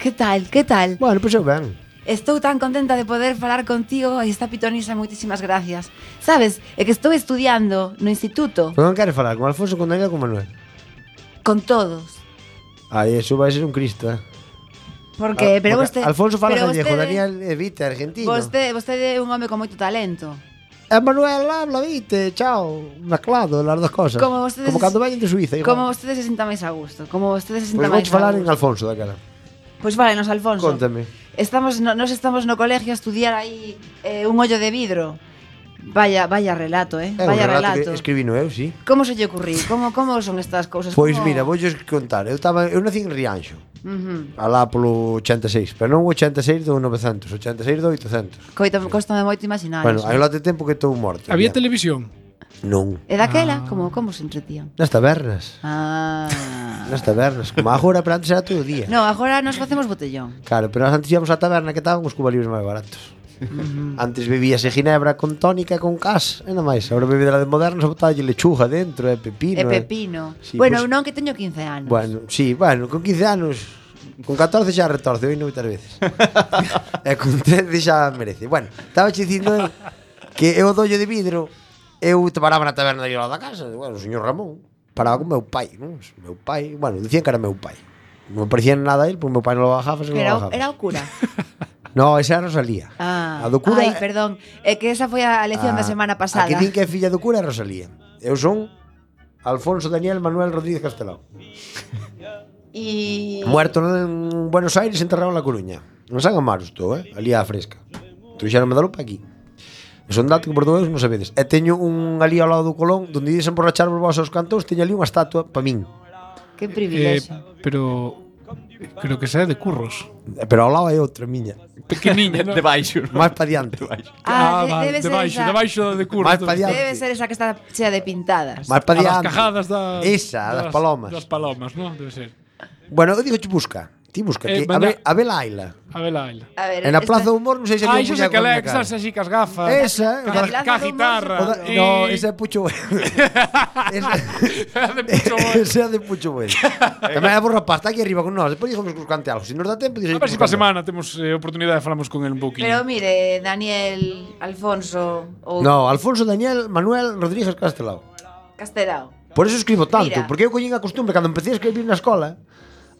Speaker 5: Que tal? Que tal?
Speaker 4: Bueno, pois eu ben.
Speaker 5: Estou tan contenta de poder falar contigo e esta pitonisa, moitísimas gracias. Sabes, é que estou estudiando no instituto
Speaker 4: Non queres falar con Alfonso, con Daniel ou con Manuel?
Speaker 5: con todos.
Speaker 4: Aí, eso vai ser un cristo, eh. Ah,
Speaker 5: Porque,
Speaker 4: porque
Speaker 5: pero vostede...
Speaker 4: Alfonso fala
Speaker 5: pero
Speaker 4: gallego,
Speaker 5: vostede-
Speaker 4: Daniel evita argentino.
Speaker 5: Vostede, vostede é un home con moito talento.
Speaker 4: Eh, Manuel habla, viste, chao, mezclado las dos cosas.
Speaker 5: Como vostedes-
Speaker 4: Como cando veñen de Suiza, igual.
Speaker 5: Como vostede se sinta máis a gusto. Como vostede
Speaker 4: Pois
Speaker 5: se sinta
Speaker 4: vou
Speaker 5: máis
Speaker 4: falar
Speaker 5: a
Speaker 4: en
Speaker 5: gusto.
Speaker 4: Alfonso daquela.
Speaker 5: Pois vale, nos Alfonso.
Speaker 4: Contame.
Speaker 5: Estamos, no, nos estamos no colegio a estudiar aí eh, un ollo de vidro. Vaya, vaya relato,
Speaker 4: É
Speaker 5: eh.
Speaker 4: un
Speaker 5: vaya
Speaker 4: relato,
Speaker 5: relato.
Speaker 4: que escribino eu, sí.
Speaker 5: Como se lle ocurriu? Como como son estas cousas?
Speaker 4: Pois
Speaker 5: Como-
Speaker 4: mira, voulle contar. Eu estaba, eu nací en Rianxo,
Speaker 5: Ujú.
Speaker 4: alá polo 86, pero non o 86 do 900, o 86 do 800.
Speaker 5: Coito, costame moito imaginar.
Speaker 4: bueno,
Speaker 5: iso.
Speaker 4: hai un lote de tempo que estou morto.
Speaker 7: Había televisión?
Speaker 4: Non.
Speaker 5: E
Speaker 4: Ah.
Speaker 5: daquela, como como se entretían?
Speaker 4: Nas tabernas,
Speaker 5: Ah.
Speaker 4: nas tabernas, como agora, pero antes era todo o día.
Speaker 5: No, agora nos facemos botellón.
Speaker 4: Claro, pero antes íbamos á taberna que estaban os cuba libres máis baratos. Antes bebíase ginebra con tónica e con cas, e nada máis. Agora bebida de moderna, só botalle lechuga dentro, e pepino.
Speaker 5: E pepino.
Speaker 4: Sí,
Speaker 5: bueno,
Speaker 4: pois-
Speaker 5: non que teño 15 anos.
Speaker 4: Bueno, sí, bueno, con 15 anos Con 14 xa retorce, hoy non moitas veces E con 13 xa merece Bueno, estaba che dicindo eu Que eu do ollo de vidro Eu te paraba na taberna de da casa Bueno, o señor Ramón Paraba con meu pai non? Meu pai, bueno, dicían que era meu pai Non me parecía nada a él, porque meu pai non lo bajaba, se non
Speaker 5: Era,
Speaker 4: lo
Speaker 5: o-
Speaker 4: bajaba.
Speaker 5: era o cura.
Speaker 4: No, esa era Rosalía
Speaker 5: Ah,
Speaker 4: A do cura
Speaker 5: ai, perdón. É que esa foi a lección da
Speaker 4: Ah,
Speaker 5: semana
Speaker 4: A
Speaker 5: pasada.
Speaker 4: que din que é filla do cura é Rosalía Eu son Alfonso Daniel Manuel Rodríguez Castelao
Speaker 5: E
Speaker 4: Eh, Muerto en Buenos Aires, enterrado en La Coruña. Non san amar isto, eh? Ali á fresca. Trouxeronme da lupa aquí. E son dato que por dous non sabedes. E teño un ali ao lado do Colón, donde dicen borrachar os vosos cantos, teño ali unha estatua pa min.
Speaker 5: que
Speaker 7: Eh,
Speaker 5: privilexio.
Speaker 7: pero creo que xa é de curros.
Speaker 4: Eh, Pero ao lado hai outra miña.
Speaker 7: Pequeniña, non?
Speaker 4: Debaixo. Máis pa diante.
Speaker 5: Ah, de- debe ser
Speaker 7: debaixo,
Speaker 5: esa.
Speaker 7: debaixo de curros.
Speaker 4: Máis pa diante.
Speaker 5: Debe ser esa que está chea de pintadas.
Speaker 4: Máis pa
Speaker 7: A das
Speaker 4: diante.
Speaker 7: cajadas da
Speaker 4: Esa, a das palomas.
Speaker 7: Das palomas, non? Debe ser.
Speaker 4: Bueno, eu digo, busca. Ti busca, que
Speaker 7: Eh,
Speaker 4: a,
Speaker 7: manda-
Speaker 4: ver, a vela aila.
Speaker 7: A ver, Laila.
Speaker 5: A ver,
Speaker 4: En a Plaza do Humor, non sei se
Speaker 7: Ai,
Speaker 4: había
Speaker 7: xa
Speaker 4: un
Speaker 7: sei
Speaker 4: muñeco
Speaker 7: Ah, que
Speaker 4: na
Speaker 7: le
Speaker 4: cara.
Speaker 7: exas así cas gafas.
Speaker 4: Esa,
Speaker 7: ca,
Speaker 4: eh,
Speaker 7: ca guitarra.
Speaker 4: O da-
Speaker 7: e-
Speaker 4: No, esa é Pucho Bueno. Esa é de Pucho Bueno. Tamén é bo rapaz, está aquí arriba con nós. Depois dixemos que os cante algo. Se nos dá tempo, dixemos
Speaker 7: A ver se pa semana temos eh, oportunidade de falamos con el un pouquinho.
Speaker 5: Pero mire, Daniel, Alfonso ou
Speaker 4: No, Alfonso Daniel Manuel Rodríguez Castelao.
Speaker 5: Castelao.
Speaker 4: Por eso escribo tanto,
Speaker 5: Mira.
Speaker 4: porque eu coñín a costumbre cando empecé a escribir na escola,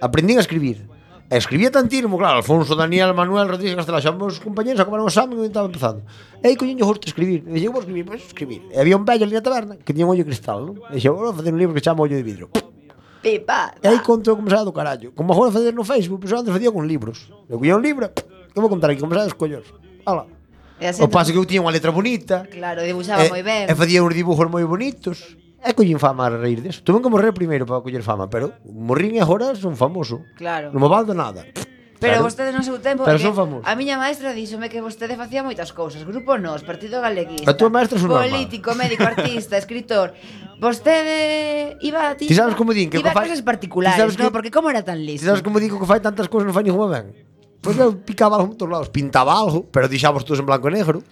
Speaker 4: aprendín a escribir. E escribía tantísimo, claro, Alfonso Daniel Manuel Rodríguez Castelao, xa meus compañeros acabaron o exame e eu estaba empezando. E aí coñín o gusto de escribir. E dixen, vou escribir, pois escribir. E había un vello ali na taberna que tiña un ollo de cristal, non? E dixen, vou facer un libro que se chama Ollo de Vidro.
Speaker 5: Pipa.
Speaker 4: E aí conto como sabe do carallo. Como agora facer no Facebook, pois eu antes facía con libros. Eu collía un libro, eu vou contar aquí como sabe os collos. Ala.
Speaker 5: E así entón-
Speaker 4: O paso que eu tiña unha letra bonita.
Speaker 5: Claro, dibuxaba
Speaker 4: e-
Speaker 5: moi ben.
Speaker 4: E facía uns dibujos moi bonitos. E collín fama a reír deso. Tuve que morrer primeiro para coller fama, pero morrín e agora son famoso.
Speaker 5: Claro.
Speaker 4: Non me valdo nada.
Speaker 5: Pero
Speaker 4: Claro.
Speaker 5: vostedes no seu tempo
Speaker 4: Pero
Speaker 5: é
Speaker 4: son
Speaker 5: que
Speaker 4: famosos.
Speaker 5: A miña maestra díxome que vostede facía moitas cousas Grupo Nos, Partido Galeguista
Speaker 4: A túa maestra é unha má.
Speaker 5: Político, médico, artista, escritor Vostede iba a ti
Speaker 4: Ti sabes como din que
Speaker 5: Iba
Speaker 4: co
Speaker 5: a
Speaker 4: fai- Ti sabes
Speaker 5: clases particulares,
Speaker 4: que-
Speaker 5: no? Porque como era tan
Speaker 4: Ti
Speaker 5: listo
Speaker 4: sabes como digo que fai tantas cousas non fai ninguna ben? Pois eu picaba algo en todos lados, pintaba algo, pero deixaba todos en blanco e negro.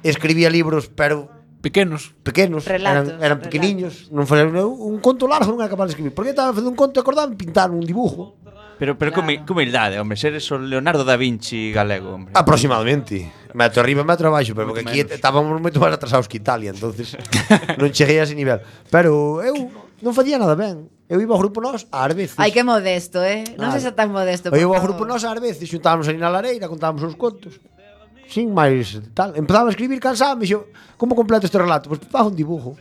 Speaker 4: Escribía libros, pero
Speaker 7: pequenos,
Speaker 4: pequenos, eran,
Speaker 5: Relatos,
Speaker 4: eran
Speaker 5: relatos.
Speaker 4: pequeniños, non facía eu un conto largo non era capaz de escribir. Porque estaba facendo un conto e acordaba pintar un dibujo
Speaker 10: Pero, pero claro. que humildade, hombre, seres o Leonardo da Vinci galego, hombre.
Speaker 4: aproximadamente. Metro arriba, metro abaixo, pero porque
Speaker 10: Moito
Speaker 4: aquí
Speaker 10: menos.
Speaker 4: estábamos moito máis atrasados que Italia, entonces non cheguei a ese nivel. Pero eu non facía nada ben. Eu iba ao grupo nós ás veces.
Speaker 5: Ai, que modesto, eh? Non
Speaker 4: Nada.
Speaker 5: se xa tan modesto
Speaker 4: Eu iba ao
Speaker 5: por
Speaker 4: grupo
Speaker 5: favor.
Speaker 4: nós ás veces, xuntábamos ali na lareira, contábamos uns contos. Sin máis tal. Empezaba a escribir cansado, me dixo, como completo este relato? Pois pues, fago un dibujo.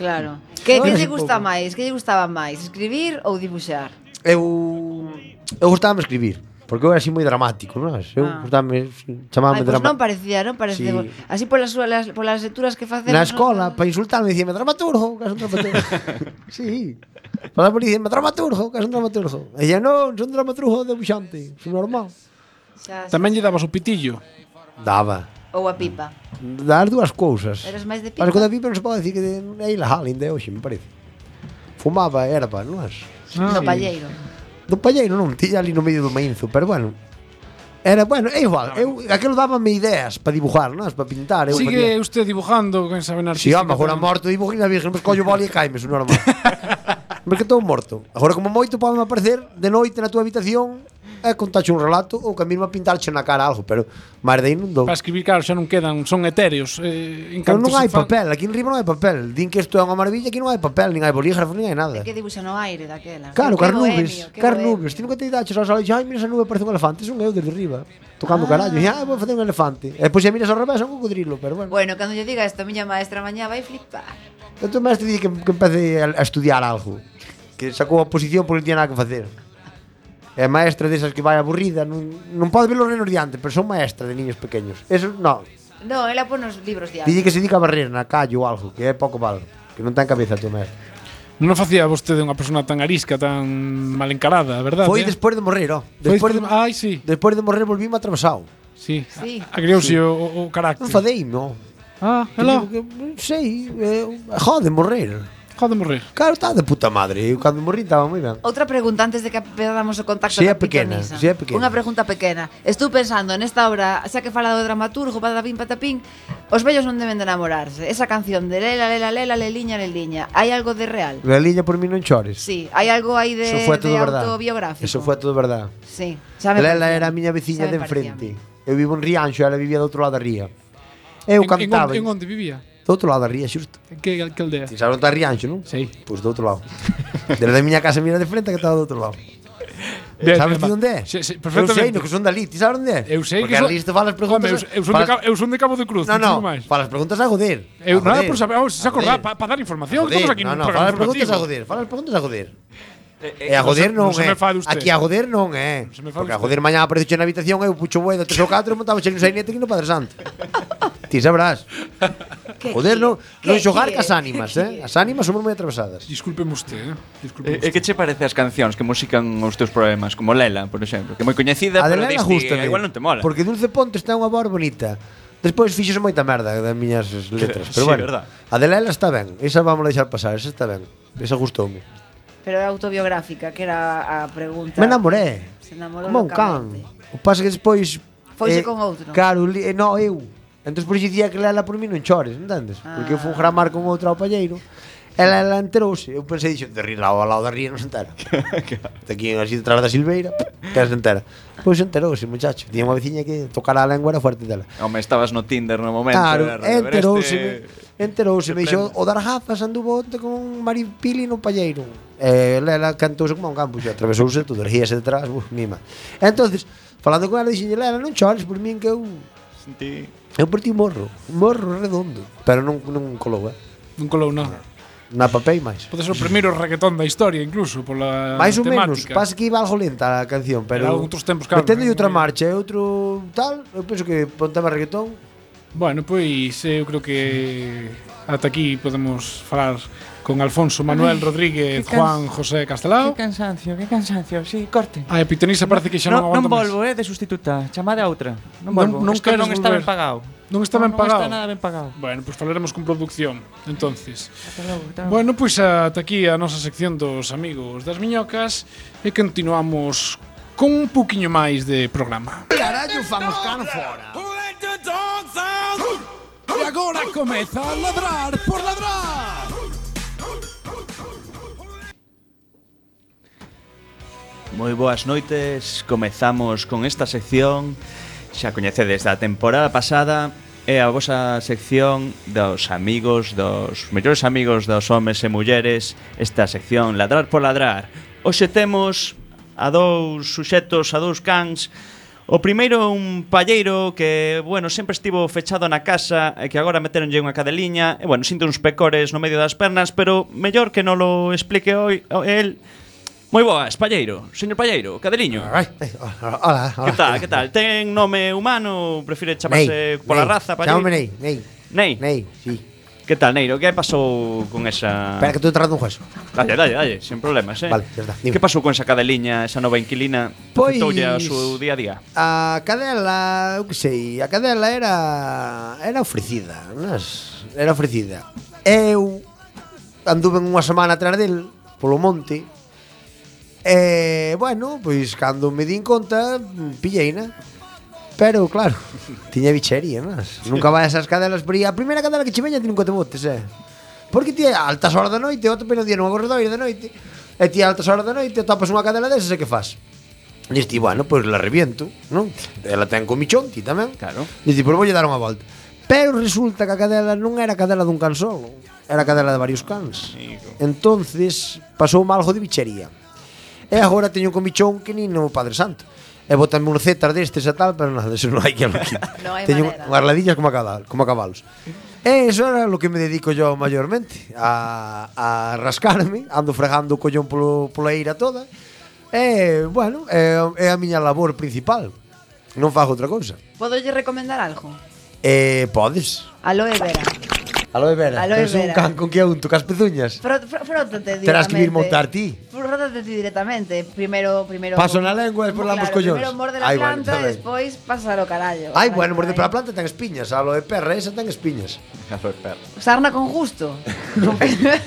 Speaker 5: Claro Que,
Speaker 4: Non
Speaker 5: que
Speaker 4: era
Speaker 5: lle
Speaker 4: un
Speaker 5: gusta
Speaker 4: pouco.
Speaker 5: máis? Que lle gustaba máis? Escribir ou dibuxar?
Speaker 4: Eu eu gustaba escribir, porque eu era así moi dramático, non? sabes? Eu
Speaker 5: Ah.
Speaker 4: ah. gustaba chamábame
Speaker 5: Ai, pois non
Speaker 4: dramático.
Speaker 5: parecía, non parecía
Speaker 4: Sí.
Speaker 5: bo- Así polas súas, polas lecturas que facemos
Speaker 4: Na
Speaker 5: non-
Speaker 4: escola, para insultarme, dicíame dramaturgo, que és un dramaturgo. sí. Para por dicirme dramaturgo, que és un dramaturgo. E ella, non, son dramaturgo debuxante, son normal.
Speaker 5: Xa-
Speaker 7: Tamén lle dabas o pitillo.
Speaker 4: Daba.
Speaker 5: Ou a pipa
Speaker 4: Dar dúas cousas.
Speaker 5: Eras máis de
Speaker 4: Para
Speaker 5: pipa?
Speaker 4: que da pipa non se pode dicir que de- é ilegal ainda hoxe, me parece. Fumaba erva, non as?
Speaker 7: Ah,
Speaker 5: No palleiro
Speaker 4: Do palleiro non, tiña ali no medio do mainzo, pero bueno. Era, bueno, é igual, eu, aquilo dábame ideas para dibujar, non? Para pintar, eu
Speaker 7: Sigue usted dibujando, que saben
Speaker 4: Si, sí,
Speaker 7: artística.
Speaker 4: home, agora
Speaker 7: tamén.
Speaker 4: morto dibujo na virgen, mas collo boli e caime, é normal. mas que estou morto. Agora como moito podeme aparecer de noite na túa habitación e contache un relato ou que a mí me pintarche na cara algo, pero máis de aí non dou.
Speaker 7: Para escribir, claro, xa non quedan, son etéreos. Eh, en
Speaker 4: Pero
Speaker 7: canto
Speaker 4: non
Speaker 7: se
Speaker 4: hai
Speaker 7: fan-
Speaker 4: papel, aquí en Riba non hai papel. Din que isto é unha maravilla, aquí non hai papel, nin hai bolígrafo, nin hai nada.
Speaker 5: Que dibuxa no aire daquela
Speaker 4: Claro,
Speaker 5: Que
Speaker 4: carnubes,
Speaker 5: bohemio, que
Speaker 4: carnubes. Ti nunca te daches aos olhos, ai, mira esa nube, parece un elefante, son eu desde riba, tocando ah. carallo. E, ai, vou facer un elefante. E depois xa miras ao revés, é un cocodrilo, pero bueno.
Speaker 5: Bueno, cando lle diga isto a miña maestra mañá vai flipar.
Speaker 4: O teu mestre Entón, di que, que empece a, a estudiar algo. Que sacou a posición porque pois non tiña nada que facer. É maestra desas que vai aburrida, non, non pode ver os nenos diante, pero son maestra de niños pequeños. Eso, non.
Speaker 5: No, ela pon os libros de
Speaker 4: Dille
Speaker 5: arte.
Speaker 4: que se dedica a barrer na calle ou algo, que é pouco vale. Que non ten cabeza a tua maestra.
Speaker 7: Non facía vostede unha persona tan arisca, tan mal encarada, verdade?
Speaker 4: Foi
Speaker 7: eh?
Speaker 4: despois de morrer, ó.
Speaker 7: Foi
Speaker 4: Despois de,
Speaker 7: despois- Ai, sí.
Speaker 4: despois de morrer volvíme atravesado.
Speaker 7: Sí.
Speaker 5: Sí.
Speaker 7: Agreouse o, o carácter.
Speaker 4: Non fadei, non.
Speaker 7: Ah,
Speaker 4: Hello.
Speaker 7: hello.
Speaker 4: Non sei, eh, jode morrer.
Speaker 7: Jode morrer.
Speaker 4: Claro, está de puta madre. Eu cando morrí estaba moi ben.
Speaker 5: Outra pregunta antes de que perdamos o contacto
Speaker 4: Si é
Speaker 5: con
Speaker 4: pequena, si é pequena.
Speaker 5: Unha pregunta pequena. Estou pensando nesta obra, xa que fala do dramaturgo, patapín, patapín, os vellos non deben de enamorarse. Esa canción de lela, lela, lela, leliña, leliña. Hai algo de real?
Speaker 4: Leliña por mí non chores.
Speaker 5: Sí, hai algo aí de,
Speaker 4: Eso fue
Speaker 5: Eh, de
Speaker 4: todo verdad.
Speaker 5: autobiográfico.
Speaker 4: Eso fue todo verdad.
Speaker 5: Sí, xa me
Speaker 4: Lela
Speaker 5: parecía.
Speaker 4: era a miña veciña
Speaker 5: Xa
Speaker 4: de
Speaker 5: me parecía
Speaker 4: enfrente. Eu vivo en Rianxo, ela vivía do outro lado da ría. Eu
Speaker 7: En-
Speaker 4: cantaba.
Speaker 7: En, on- en onde vivía?
Speaker 4: Do outro lado da ría, xusto.
Speaker 7: En que, que aldea?
Speaker 4: Ti sabes onde está Rianxo, non?
Speaker 7: Sí.
Speaker 4: Pois do outro lado. Desde a miña casa mira de frente que estaba do outro lado.
Speaker 7: Bien,
Speaker 4: sabes ti
Speaker 7: bien,
Speaker 4: onde é?
Speaker 7: va. Sí,
Speaker 4: eu sei,
Speaker 7: sí, perfectamente.
Speaker 4: no que son dali, ti sabes onde é?
Speaker 7: Eu sei
Speaker 4: Porque
Speaker 7: que so-
Speaker 4: ali te fan as preguntas.
Speaker 7: Home, eu, eu, son de,
Speaker 4: fan
Speaker 7: Cabo- eu son de Cabo de Cruz,
Speaker 4: as- No, Ah, no,
Speaker 7: non sei máis.
Speaker 4: para as preguntas a joder.
Speaker 7: Eu
Speaker 4: A
Speaker 7: nada
Speaker 4: joder.
Speaker 7: por saber, vamos, se
Speaker 4: A
Speaker 7: acordar
Speaker 4: joder.
Speaker 7: para dar
Speaker 4: A
Speaker 7: información,
Speaker 4: joder,
Speaker 7: estamos aquí
Speaker 4: no,
Speaker 7: nun
Speaker 4: no, para
Speaker 7: programa
Speaker 4: as preguntas a
Speaker 7: informativo.
Speaker 4: joder, para as preguntas a joder.
Speaker 10: Eh,
Speaker 4: E a
Speaker 7: non se-
Speaker 4: joder non,
Speaker 7: non se
Speaker 4: é.
Speaker 7: me fade usted.
Speaker 4: Aquí a joder non é.
Speaker 7: me fade
Speaker 4: Porque a
Speaker 7: usted.
Speaker 4: joder mañá aparece na habitación eu pucho bué de 3 ou 4 e montaba xe un sainete aquí no Padre Santo. Ti sabrás.
Speaker 5: Que
Speaker 4: Joder,
Speaker 5: qui-
Speaker 4: non,
Speaker 5: que
Speaker 4: non xogar
Speaker 5: qui-
Speaker 4: cas ánimas, eh? As ánimas somos moi atravesadas.
Speaker 7: Discúlpeme usted, eh? Discúlpeme
Speaker 10: E, e que che parece as cancións que musican os teus problemas, como Lela, por exemplo, que é moi coñecida,
Speaker 4: A de
Speaker 10: pero
Speaker 4: Lela
Speaker 10: dis ti,
Speaker 4: gústame.
Speaker 10: igual non te mola.
Speaker 4: Porque Dulce Pontes ten unha voz bonita. Despois fixose moita merda das miñas letras, pero
Speaker 10: Sí,
Speaker 4: bueno.
Speaker 10: verdad.
Speaker 4: A de Lela está ben, esa vamos a deixar pasar, esa está ben. Esa gustoume.
Speaker 5: Pero é autobiográfica, que era a pregunta.
Speaker 4: Me enamoré.
Speaker 5: Se enamorou
Speaker 4: Como un can.
Speaker 5: locamente.
Speaker 4: O pasa que despois eh,
Speaker 5: Foise con outro.
Speaker 4: Claro, li, eh, no, eu. Entón por iso dicía que lela por mí non chores, entendes? Ah. Porque eu fui gramar con outra ao palleiro. Ela, ela enterouse, eu pensei, dixo, de rir ao lado da ría non se entera. de aquí así detrás da Silveira, que se entera. Pois enterouse, muchacho. Tiña unha veciña que tocara a lengua era fuerte dela.
Speaker 10: Home, estabas no Tinder no momento.
Speaker 4: Claro,
Speaker 10: eh, Rodrigo,
Speaker 4: enterouse,
Speaker 10: este-
Speaker 4: enterouse, me dixo, o
Speaker 10: prende.
Speaker 4: dar gafas anduvo onte con un maripili no palleiro. Eh, Lela cantouse como a un campo, xa atravesouse todo, ríase detrás, buf, mima. Entonces, falando con ela, dixenlle, Lela, non chores por min que eu
Speaker 10: Sentí...
Speaker 4: eu por ti morro, morro redondo, pero non non colou, eh.
Speaker 7: Non colou, non.
Speaker 4: Na papel máis.
Speaker 3: Pode ser o primeiro reggaetón da historia, incluso, pola
Speaker 4: Mais ou menos,
Speaker 3: Ah, temática.
Speaker 4: pasa que iba algo lenta a canción, pero
Speaker 3: Era outros tempos, claro,
Speaker 4: Meténdolle
Speaker 3: non
Speaker 4: outra
Speaker 3: era-
Speaker 4: marcha e outro tal, eu penso que pontaba reggaetón.
Speaker 3: Bueno, pois eu creo que ata aquí podemos falar con Alfonso Manuel
Speaker 7: Ay,
Speaker 3: Rodríguez,
Speaker 7: que
Speaker 3: Juan
Speaker 7: can-
Speaker 3: José Castelao.
Speaker 7: Que cansancio, que cansancio. Sí, corte.
Speaker 3: A Epitonisa parece que xa non
Speaker 7: non,
Speaker 3: aguanta
Speaker 7: non
Speaker 3: máis.
Speaker 7: volvo, eh, de sustituta. Chamade a outra.
Speaker 3: Non-
Speaker 7: Non volvo.
Speaker 3: non
Speaker 7: Isto
Speaker 3: queres
Speaker 7: non está ben
Speaker 3: volver.
Speaker 7: pagado.
Speaker 3: Non está ben
Speaker 7: Non
Speaker 3: pagado.
Speaker 7: está nada ben pagado.
Speaker 3: Bueno, pois falaremos con producción, entonces.
Speaker 7: Ata logo, ata logo.
Speaker 3: Bueno, pois ata aquí a nosa sección dos amigos das miñocas e continuamos con un poquinho máis de programa.
Speaker 16: Carallo, famos can fora.
Speaker 2: E agora comeza a ladrar por ladrar.
Speaker 10: Moi boas noites, comezamos con esta sección Xa coñecedes da temporada pasada É a vosa sección dos amigos, dos mellores amigos dos homes e mulleres Esta sección Ladrar por Ladrar Oxe temos a dous suxetos, a dous cans O primeiro un palleiro que, bueno, sempre estivo fechado na casa e que agora meteronlle unha cadeliña e, bueno, sinte uns pecores no medio das pernas, pero mellor que non lo explique hoi, o- el Moi boas, Palleiro. Señor Palleiro, Cadeliño.
Speaker 4: Eh, Hola, hola.
Speaker 10: Que tal, que tal? Ten nome humano, prefire chamarse
Speaker 4: Nei, Nei.
Speaker 10: pola raza, Palleiro?
Speaker 4: Chámame Ney, Ney.
Speaker 10: Nei?
Speaker 4: Nei, sí.
Speaker 10: Que tal, Neiro? Que pasou con esa...
Speaker 4: Espera que estou tratando un hueso.
Speaker 10: Dalle, dalle, dalle, sen problemas, eh?
Speaker 4: Vale, ya está, dime.
Speaker 10: Que pasou con esa cadeliña, esa nova inquilina?
Speaker 4: Pois-
Speaker 10: Afectoulle o seu día a día?
Speaker 4: A cadela, eu que sei, a cadela era era ofrecida, nas, era ofrecida. Eu anduve unha semana atrás del polo monte. E, bueno, pois cando me din conta, pilleina. Pero claro, tiña bichería, nas. Nunca vai a esas cadelas por aí. A primeira cadela que che veña ti nunca te botes, eh. Porque ti a altas horas da noite, outro pena día nunha corredoira da noite, e ti a altas horas da noite topas unha cadela desas e que fas? Diz ti, bueno, pois la reviento, non? Ela ten comichón, ti tamén. Claro. Diz ti, pois voulle dar unha volta. Pero resulta que a cadela non era a cadela dun can solo, era a cadela de varios cans. Entonces, pasou mal algo de bichería. E agora teño un comichón que nin o Padre Santo. E botanme un zetas destes e tal, pero nada, eso non hai que lo quite.
Speaker 5: No hai
Speaker 4: teño
Speaker 5: manera.
Speaker 4: unhas ladillas como a, cada, como a cabalos. E eso era lo que me dedico yo maiormente, a, a rascarme, ando fregando o collón polo, pola eira toda. E, bueno, é, é a miña labor principal. Non fago outra cousa.
Speaker 5: Podolle recomendar algo?
Speaker 4: E podes.
Speaker 5: Aloe vera.
Speaker 4: Aloe vera.
Speaker 5: Aloe
Speaker 4: Tes un
Speaker 5: vera.
Speaker 4: can con que unto, cas pezuñas.
Speaker 5: Fró- fró- Frótate directamente.
Speaker 4: Terás que vir montar ti.
Speaker 5: Frótate ti directamente. Primero, primero.
Speaker 4: Paso na lengua, despois
Speaker 5: Claro,
Speaker 4: lamos collóns.
Speaker 5: Primero morde la
Speaker 4: Ai, bueno,
Speaker 5: planta
Speaker 4: está
Speaker 5: e
Speaker 4: ben.
Speaker 5: despois pásalo carallo.
Speaker 4: Ai,
Speaker 5: Ai,
Speaker 4: bueno, morde pola planta ten espiñas, a aloe perra esa ten espiñas. Aloe perra.
Speaker 5: Sarna con justo.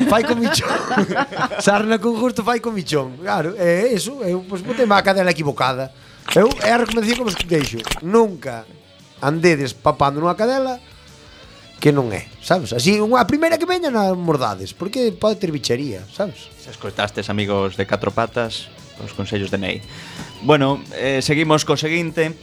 Speaker 4: Fai con michón. Sarna con gusto fai con michón. Claro, é eso. Eu, pois, botei má cadela equivocada. Eu, é a recomendación que vos deixo. Nunca andedes papando nunha cadela que non é, sabes? Así, unha a primeira que veña na mordades, porque pode ter bichería, sabes?
Speaker 10: Se escoitastes, amigos de Catro Patas, os consellos de Ney. Bueno, eh, seguimos co seguinte.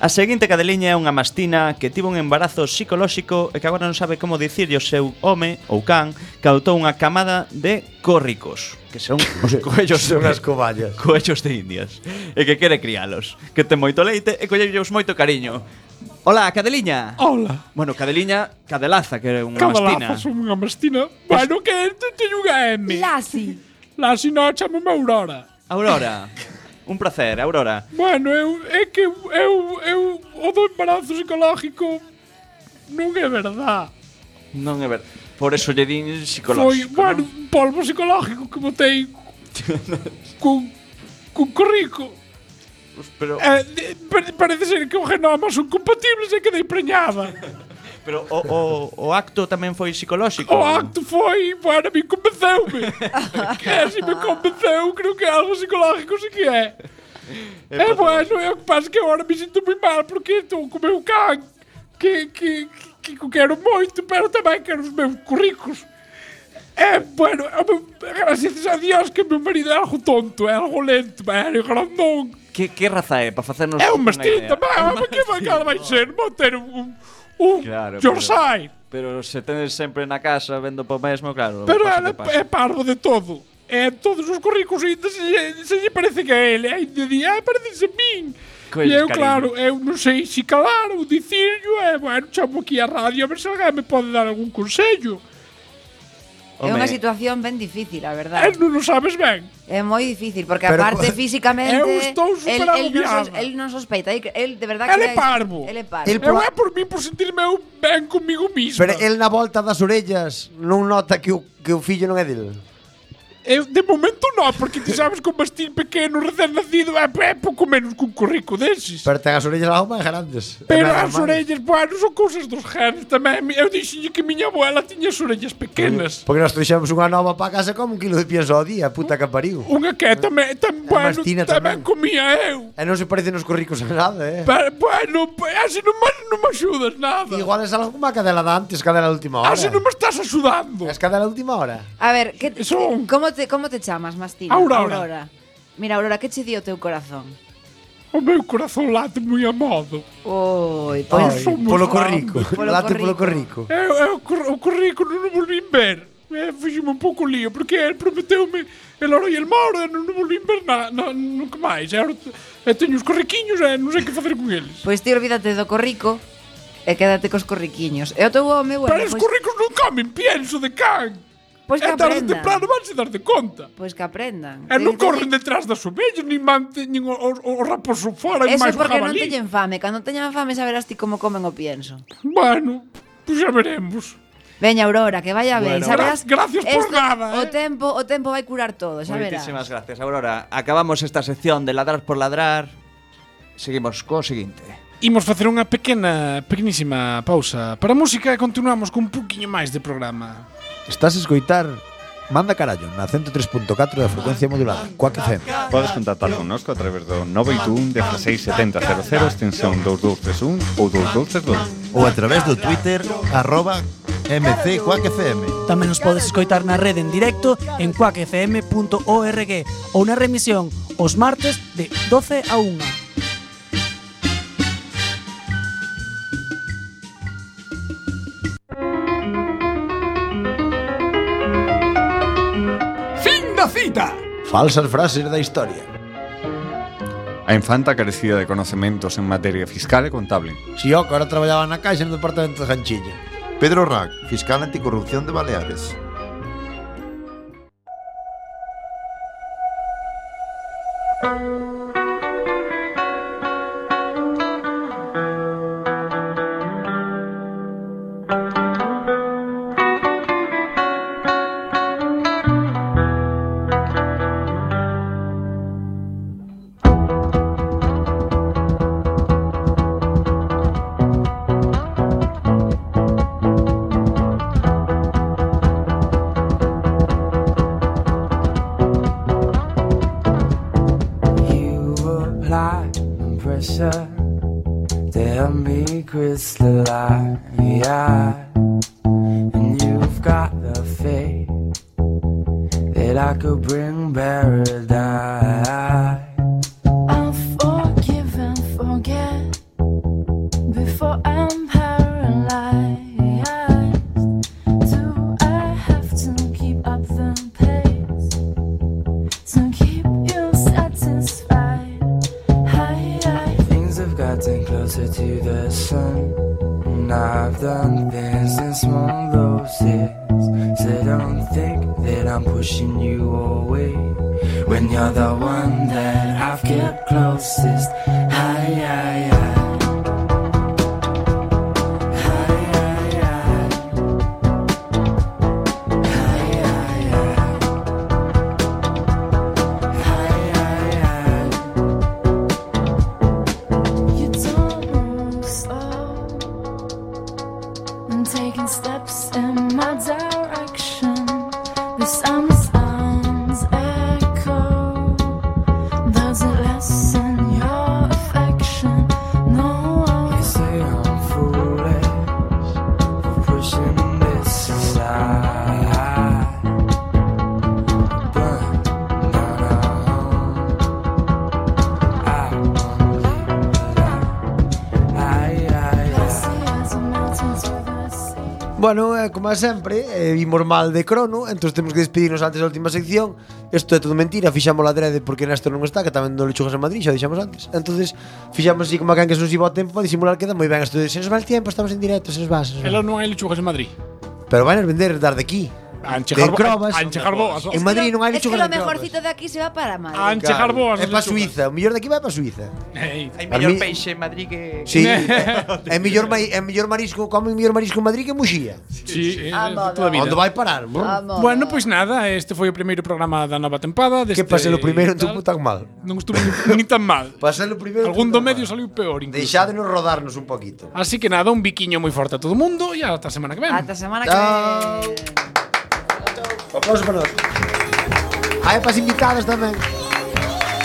Speaker 10: A seguinte cadeliña é unha mastina que tivo un embarazo psicolóxico e que agora non sabe como dicirlle o seu home ou can que adoptou unha camada de córricos, que son os coellos
Speaker 4: Son as coballas.
Speaker 10: Coellos de indias. E que quere crialos, que ten moito leite e collellos moito cariño. Hola, cadeliña.
Speaker 7: Oh.
Speaker 3: Hola.
Speaker 10: Bueno, cadeliña, cadelaza, que é unha mastina.
Speaker 3: Cadalaza son unha mastina. Bueno, que este teño unha M.
Speaker 5: Lasi.
Speaker 3: Lasi non, chamame Aurora.
Speaker 10: Aurora. Un placer, Aurora.
Speaker 3: Bueno, eu, é que eu, eu, o do embarazo psicológico non é verdad.
Speaker 10: Non é ver. Por eso lle din
Speaker 3: Foi,
Speaker 10: psicolóxico.
Speaker 3: bueno, un polvo psicológico que botei cun, cun corrico.
Speaker 10: Pero,
Speaker 3: Eh, de- pare- parece ser que os genomas son compatibles e quedei preñada.
Speaker 10: pero o, o, o acto tamén foi psicolóxico.
Speaker 3: O acto foi, bueno, a mí convenceume. que se me convenceu, creo que algo psicológico sí que é.
Speaker 2: É
Speaker 3: É bueno, é o que pasa que agora me sinto moi mal porque estou co meu can que, que, que, que quero moito, pero tamén quero os meus curricos. É, bueno, é o meu, gracias a Dios que meu marido é algo tonto, é algo lento, é grandón.
Speaker 10: Que, que raza é? Para facernos
Speaker 3: É un
Speaker 10: unha
Speaker 3: mastín
Speaker 10: idea.
Speaker 3: tamén, home, que vai cara vai ser, vou ter um, un... un
Speaker 10: Claro,
Speaker 3: Yorsai.
Speaker 10: Pero se tenes sempre na casa vendo po mesmo, claro.
Speaker 3: Pero
Speaker 10: pasa o
Speaker 3: ela
Speaker 10: que pasa.
Speaker 3: é parvo de todo. É todos os currículos ainda se, lle- se lle parece que é ele. Ainda di, ah, parece a min.
Speaker 10: Coisas,
Speaker 3: e eu,
Speaker 10: cariño.
Speaker 3: claro, eu non sei se calar é, ou dicirlo. E, bueno, chamo aquí a radio a ver se alguén me pode dar algún consello.
Speaker 5: É unha
Speaker 3: Home.
Speaker 5: situación ben difícil, a verdade.
Speaker 3: Eh, non o sabes ben.
Speaker 5: É moi difícil, porque
Speaker 3: Pero
Speaker 5: aparte
Speaker 3: co-
Speaker 5: físicamente
Speaker 3: Eu estou
Speaker 5: el, el, non sos,
Speaker 3: superagobiada.
Speaker 5: el non sospeita, el, el de verdad
Speaker 3: Ele
Speaker 5: que
Speaker 3: é parvo.
Speaker 5: Ele é parvo.
Speaker 3: El eu é por mí por sentirme eu ben comigo mismo.
Speaker 4: Pero el na volta das orellas non nota que o, que o fillo non é dele.
Speaker 3: Eu, de momento non, porque ti sabes que un vestín pequeno recén nacido é, é pouco menos que un currico deses.
Speaker 4: Pero ten as orellas lá máis grandes. É
Speaker 3: Pero
Speaker 4: máis
Speaker 3: as orellas, bueno, son cousas dos genes tamén. Mi- Eu dixenlle que miña abuela tiña as orellas pequenas.
Speaker 4: Porque nós trouxemos unha nova para casa como un quilo de pienso ao día, puta que pariu.
Speaker 3: Unha que tamén, tamén, bueno,
Speaker 4: mastina tamén.
Speaker 3: tamén comía eu.
Speaker 4: E non se parece nos curricos a nada, eh?
Speaker 3: Pero, bueno, pues, así non, me- non me axudas nada.
Speaker 4: Igual es algo como a cadela de antes, cadela de última hora.
Speaker 3: Así non me estás axudando.
Speaker 4: Es cadela de última hora.
Speaker 5: A ver, que te, como te como te chamas, Mastina?
Speaker 3: Aurora.
Speaker 5: Aurora. Mira, Aurora, que che di o teu corazón?
Speaker 3: O meu corazón late moi a modo.
Speaker 5: Oi,
Speaker 3: pois-
Speaker 4: polo corrico.
Speaker 3: Polo
Speaker 4: Late
Speaker 3: corrico.
Speaker 4: polo corrico.
Speaker 3: Eu, eu, o cur- o currículo non o volvín ver. Eh, fixeme un pouco lío, porque el prometeume el oro e el mauro e non o volvín ver na, na, nunca máis. E ahora te- e teño os corriquiños e non sei que facer con eles.
Speaker 5: Pois ti olvídate do corrico e quédate cos corriquiños. Eh, E o teu home, bueno,
Speaker 3: Pero os
Speaker 5: pois-
Speaker 3: corricos non comen pienso de can.
Speaker 5: Pois que
Speaker 3: e tarde ou
Speaker 5: aprendan.
Speaker 3: temprano vanse dar de conta.
Speaker 5: Pois que aprendan.
Speaker 3: E non corren detrás das ovellas, nin mante, nin o, o, o raposo fora,
Speaker 5: Eso
Speaker 3: e máis o
Speaker 5: porque non
Speaker 3: jabalí.
Speaker 5: teñen fame. Cando teñan fame saberás ti como comen o pienso.
Speaker 3: Bueno, pois xa veremos.
Speaker 5: Veña, Aurora, que vaya ben.
Speaker 10: Bueno,
Speaker 5: saberás,
Speaker 10: gra- gracias por
Speaker 5: nada, O tempo, o tempo vai curar todo, xa verás.
Speaker 10: Moitísimas gracias, Aurora. Acabamos esta sección de ladrar por ladrar. Seguimos co seguinte.
Speaker 3: Imos facer unha pequena, pequenísima pausa para a música e continuamos cun poquinho máis de programa.
Speaker 7: Estás a escoitar Manda Carallo na 103.4 da frecuencia modulada Cuac FM
Speaker 11: Podes contactar connosco a través do 921 16 70 00 extensión 2231 ou 2232
Speaker 17: ou a través do Twitter arroba MC Quack FM.
Speaker 13: Tamén nos podes escoitar na rede en directo en cuacfm.org ou na remisión os martes de 12 a 1.
Speaker 18: Fin da cita.
Speaker 7: Falsas frases da historia
Speaker 11: A infanta carecía de conocementos en materia fiscal e contable
Speaker 4: Si yo que ahora traballaba na caixa no departamento de Ganchilla.
Speaker 17: Pedro Rack, fiscal anticorrupción de Baleares.
Speaker 19: apply pressure to help me crystallize. And you've got the faith that I could bring paradise.
Speaker 20: I'll forgive and forget before I'm paralyzed. Do I have to keep up the pace to keep you satisfied? Hi,
Speaker 19: Things have gotten closer to the sun. And I've done things in small doses. So don't think that I'm pushing you away. When you're the one that I've kept closest. Hi, hi, hi.
Speaker 20: It's almost up. I'm taking steps in my direction. The sounds echo. Does it lessen your affection? No.
Speaker 19: You say I'm foolish for pushing this aside. Burn down our home. I won't leave alone. Aye, aye, aye.
Speaker 20: As the mountains with us.
Speaker 4: Bueno, eh, como é sempre, eh, vimos mal de crono, entón temos que despedirnos antes da última sección. Isto é todo mentira, fixamos la adrede porque Néstor non está, que tamén do lechugas en Madrid, xa o dixemos antes. Entonces, fixamos así como a can que se nos iba o tempo a disimular que da moi ben. Isto de, se nos va el tiempo, estamos en directo, se nos va, se nos va.
Speaker 3: Ela non hai lechugas en Madrid.
Speaker 4: Pero van a vender dar de aquí.
Speaker 7: Anche
Speaker 4: De
Speaker 7: Harbo-
Speaker 4: Crobas.
Speaker 7: Anche Harboas.
Speaker 4: En Madrid non hai
Speaker 5: Es que
Speaker 4: lechuga
Speaker 5: lo
Speaker 4: de Crobas.
Speaker 5: mejorcito de aquí se va para Madrid.
Speaker 4: Claro, É para Suiza, o mellor daqui vai para Suiza.
Speaker 7: Hai
Speaker 4: mellor
Speaker 3: peixe en Madrid que...
Speaker 4: Sí. é mellor mai- é mellor marisco, comen mellor marisco en Madrid que en Muxía.
Speaker 7: Sí, eh,
Speaker 4: Ah, moda.
Speaker 7: toda a vida.
Speaker 4: Onde vai parar? bro?
Speaker 3: Ah.
Speaker 7: Bueno, pois nada, este foi o primeiro programa da nova tempada deste
Speaker 4: que pasei o primeiro non estuvo tan mal.
Speaker 7: Non estuvo nin tan mal.
Speaker 4: Pasei o primeiro.
Speaker 7: Algún do medio saliu peor incluso.
Speaker 4: Deixádenos rodarnos un poquito.
Speaker 7: Así que nada, un biquiño moi forte a todo o mundo e ata a semana que ven.
Speaker 5: Hasta semana que
Speaker 4: Chao.
Speaker 5: viene.
Speaker 4: Ah, Aplausos para nós. Hai para as invitadas tamén.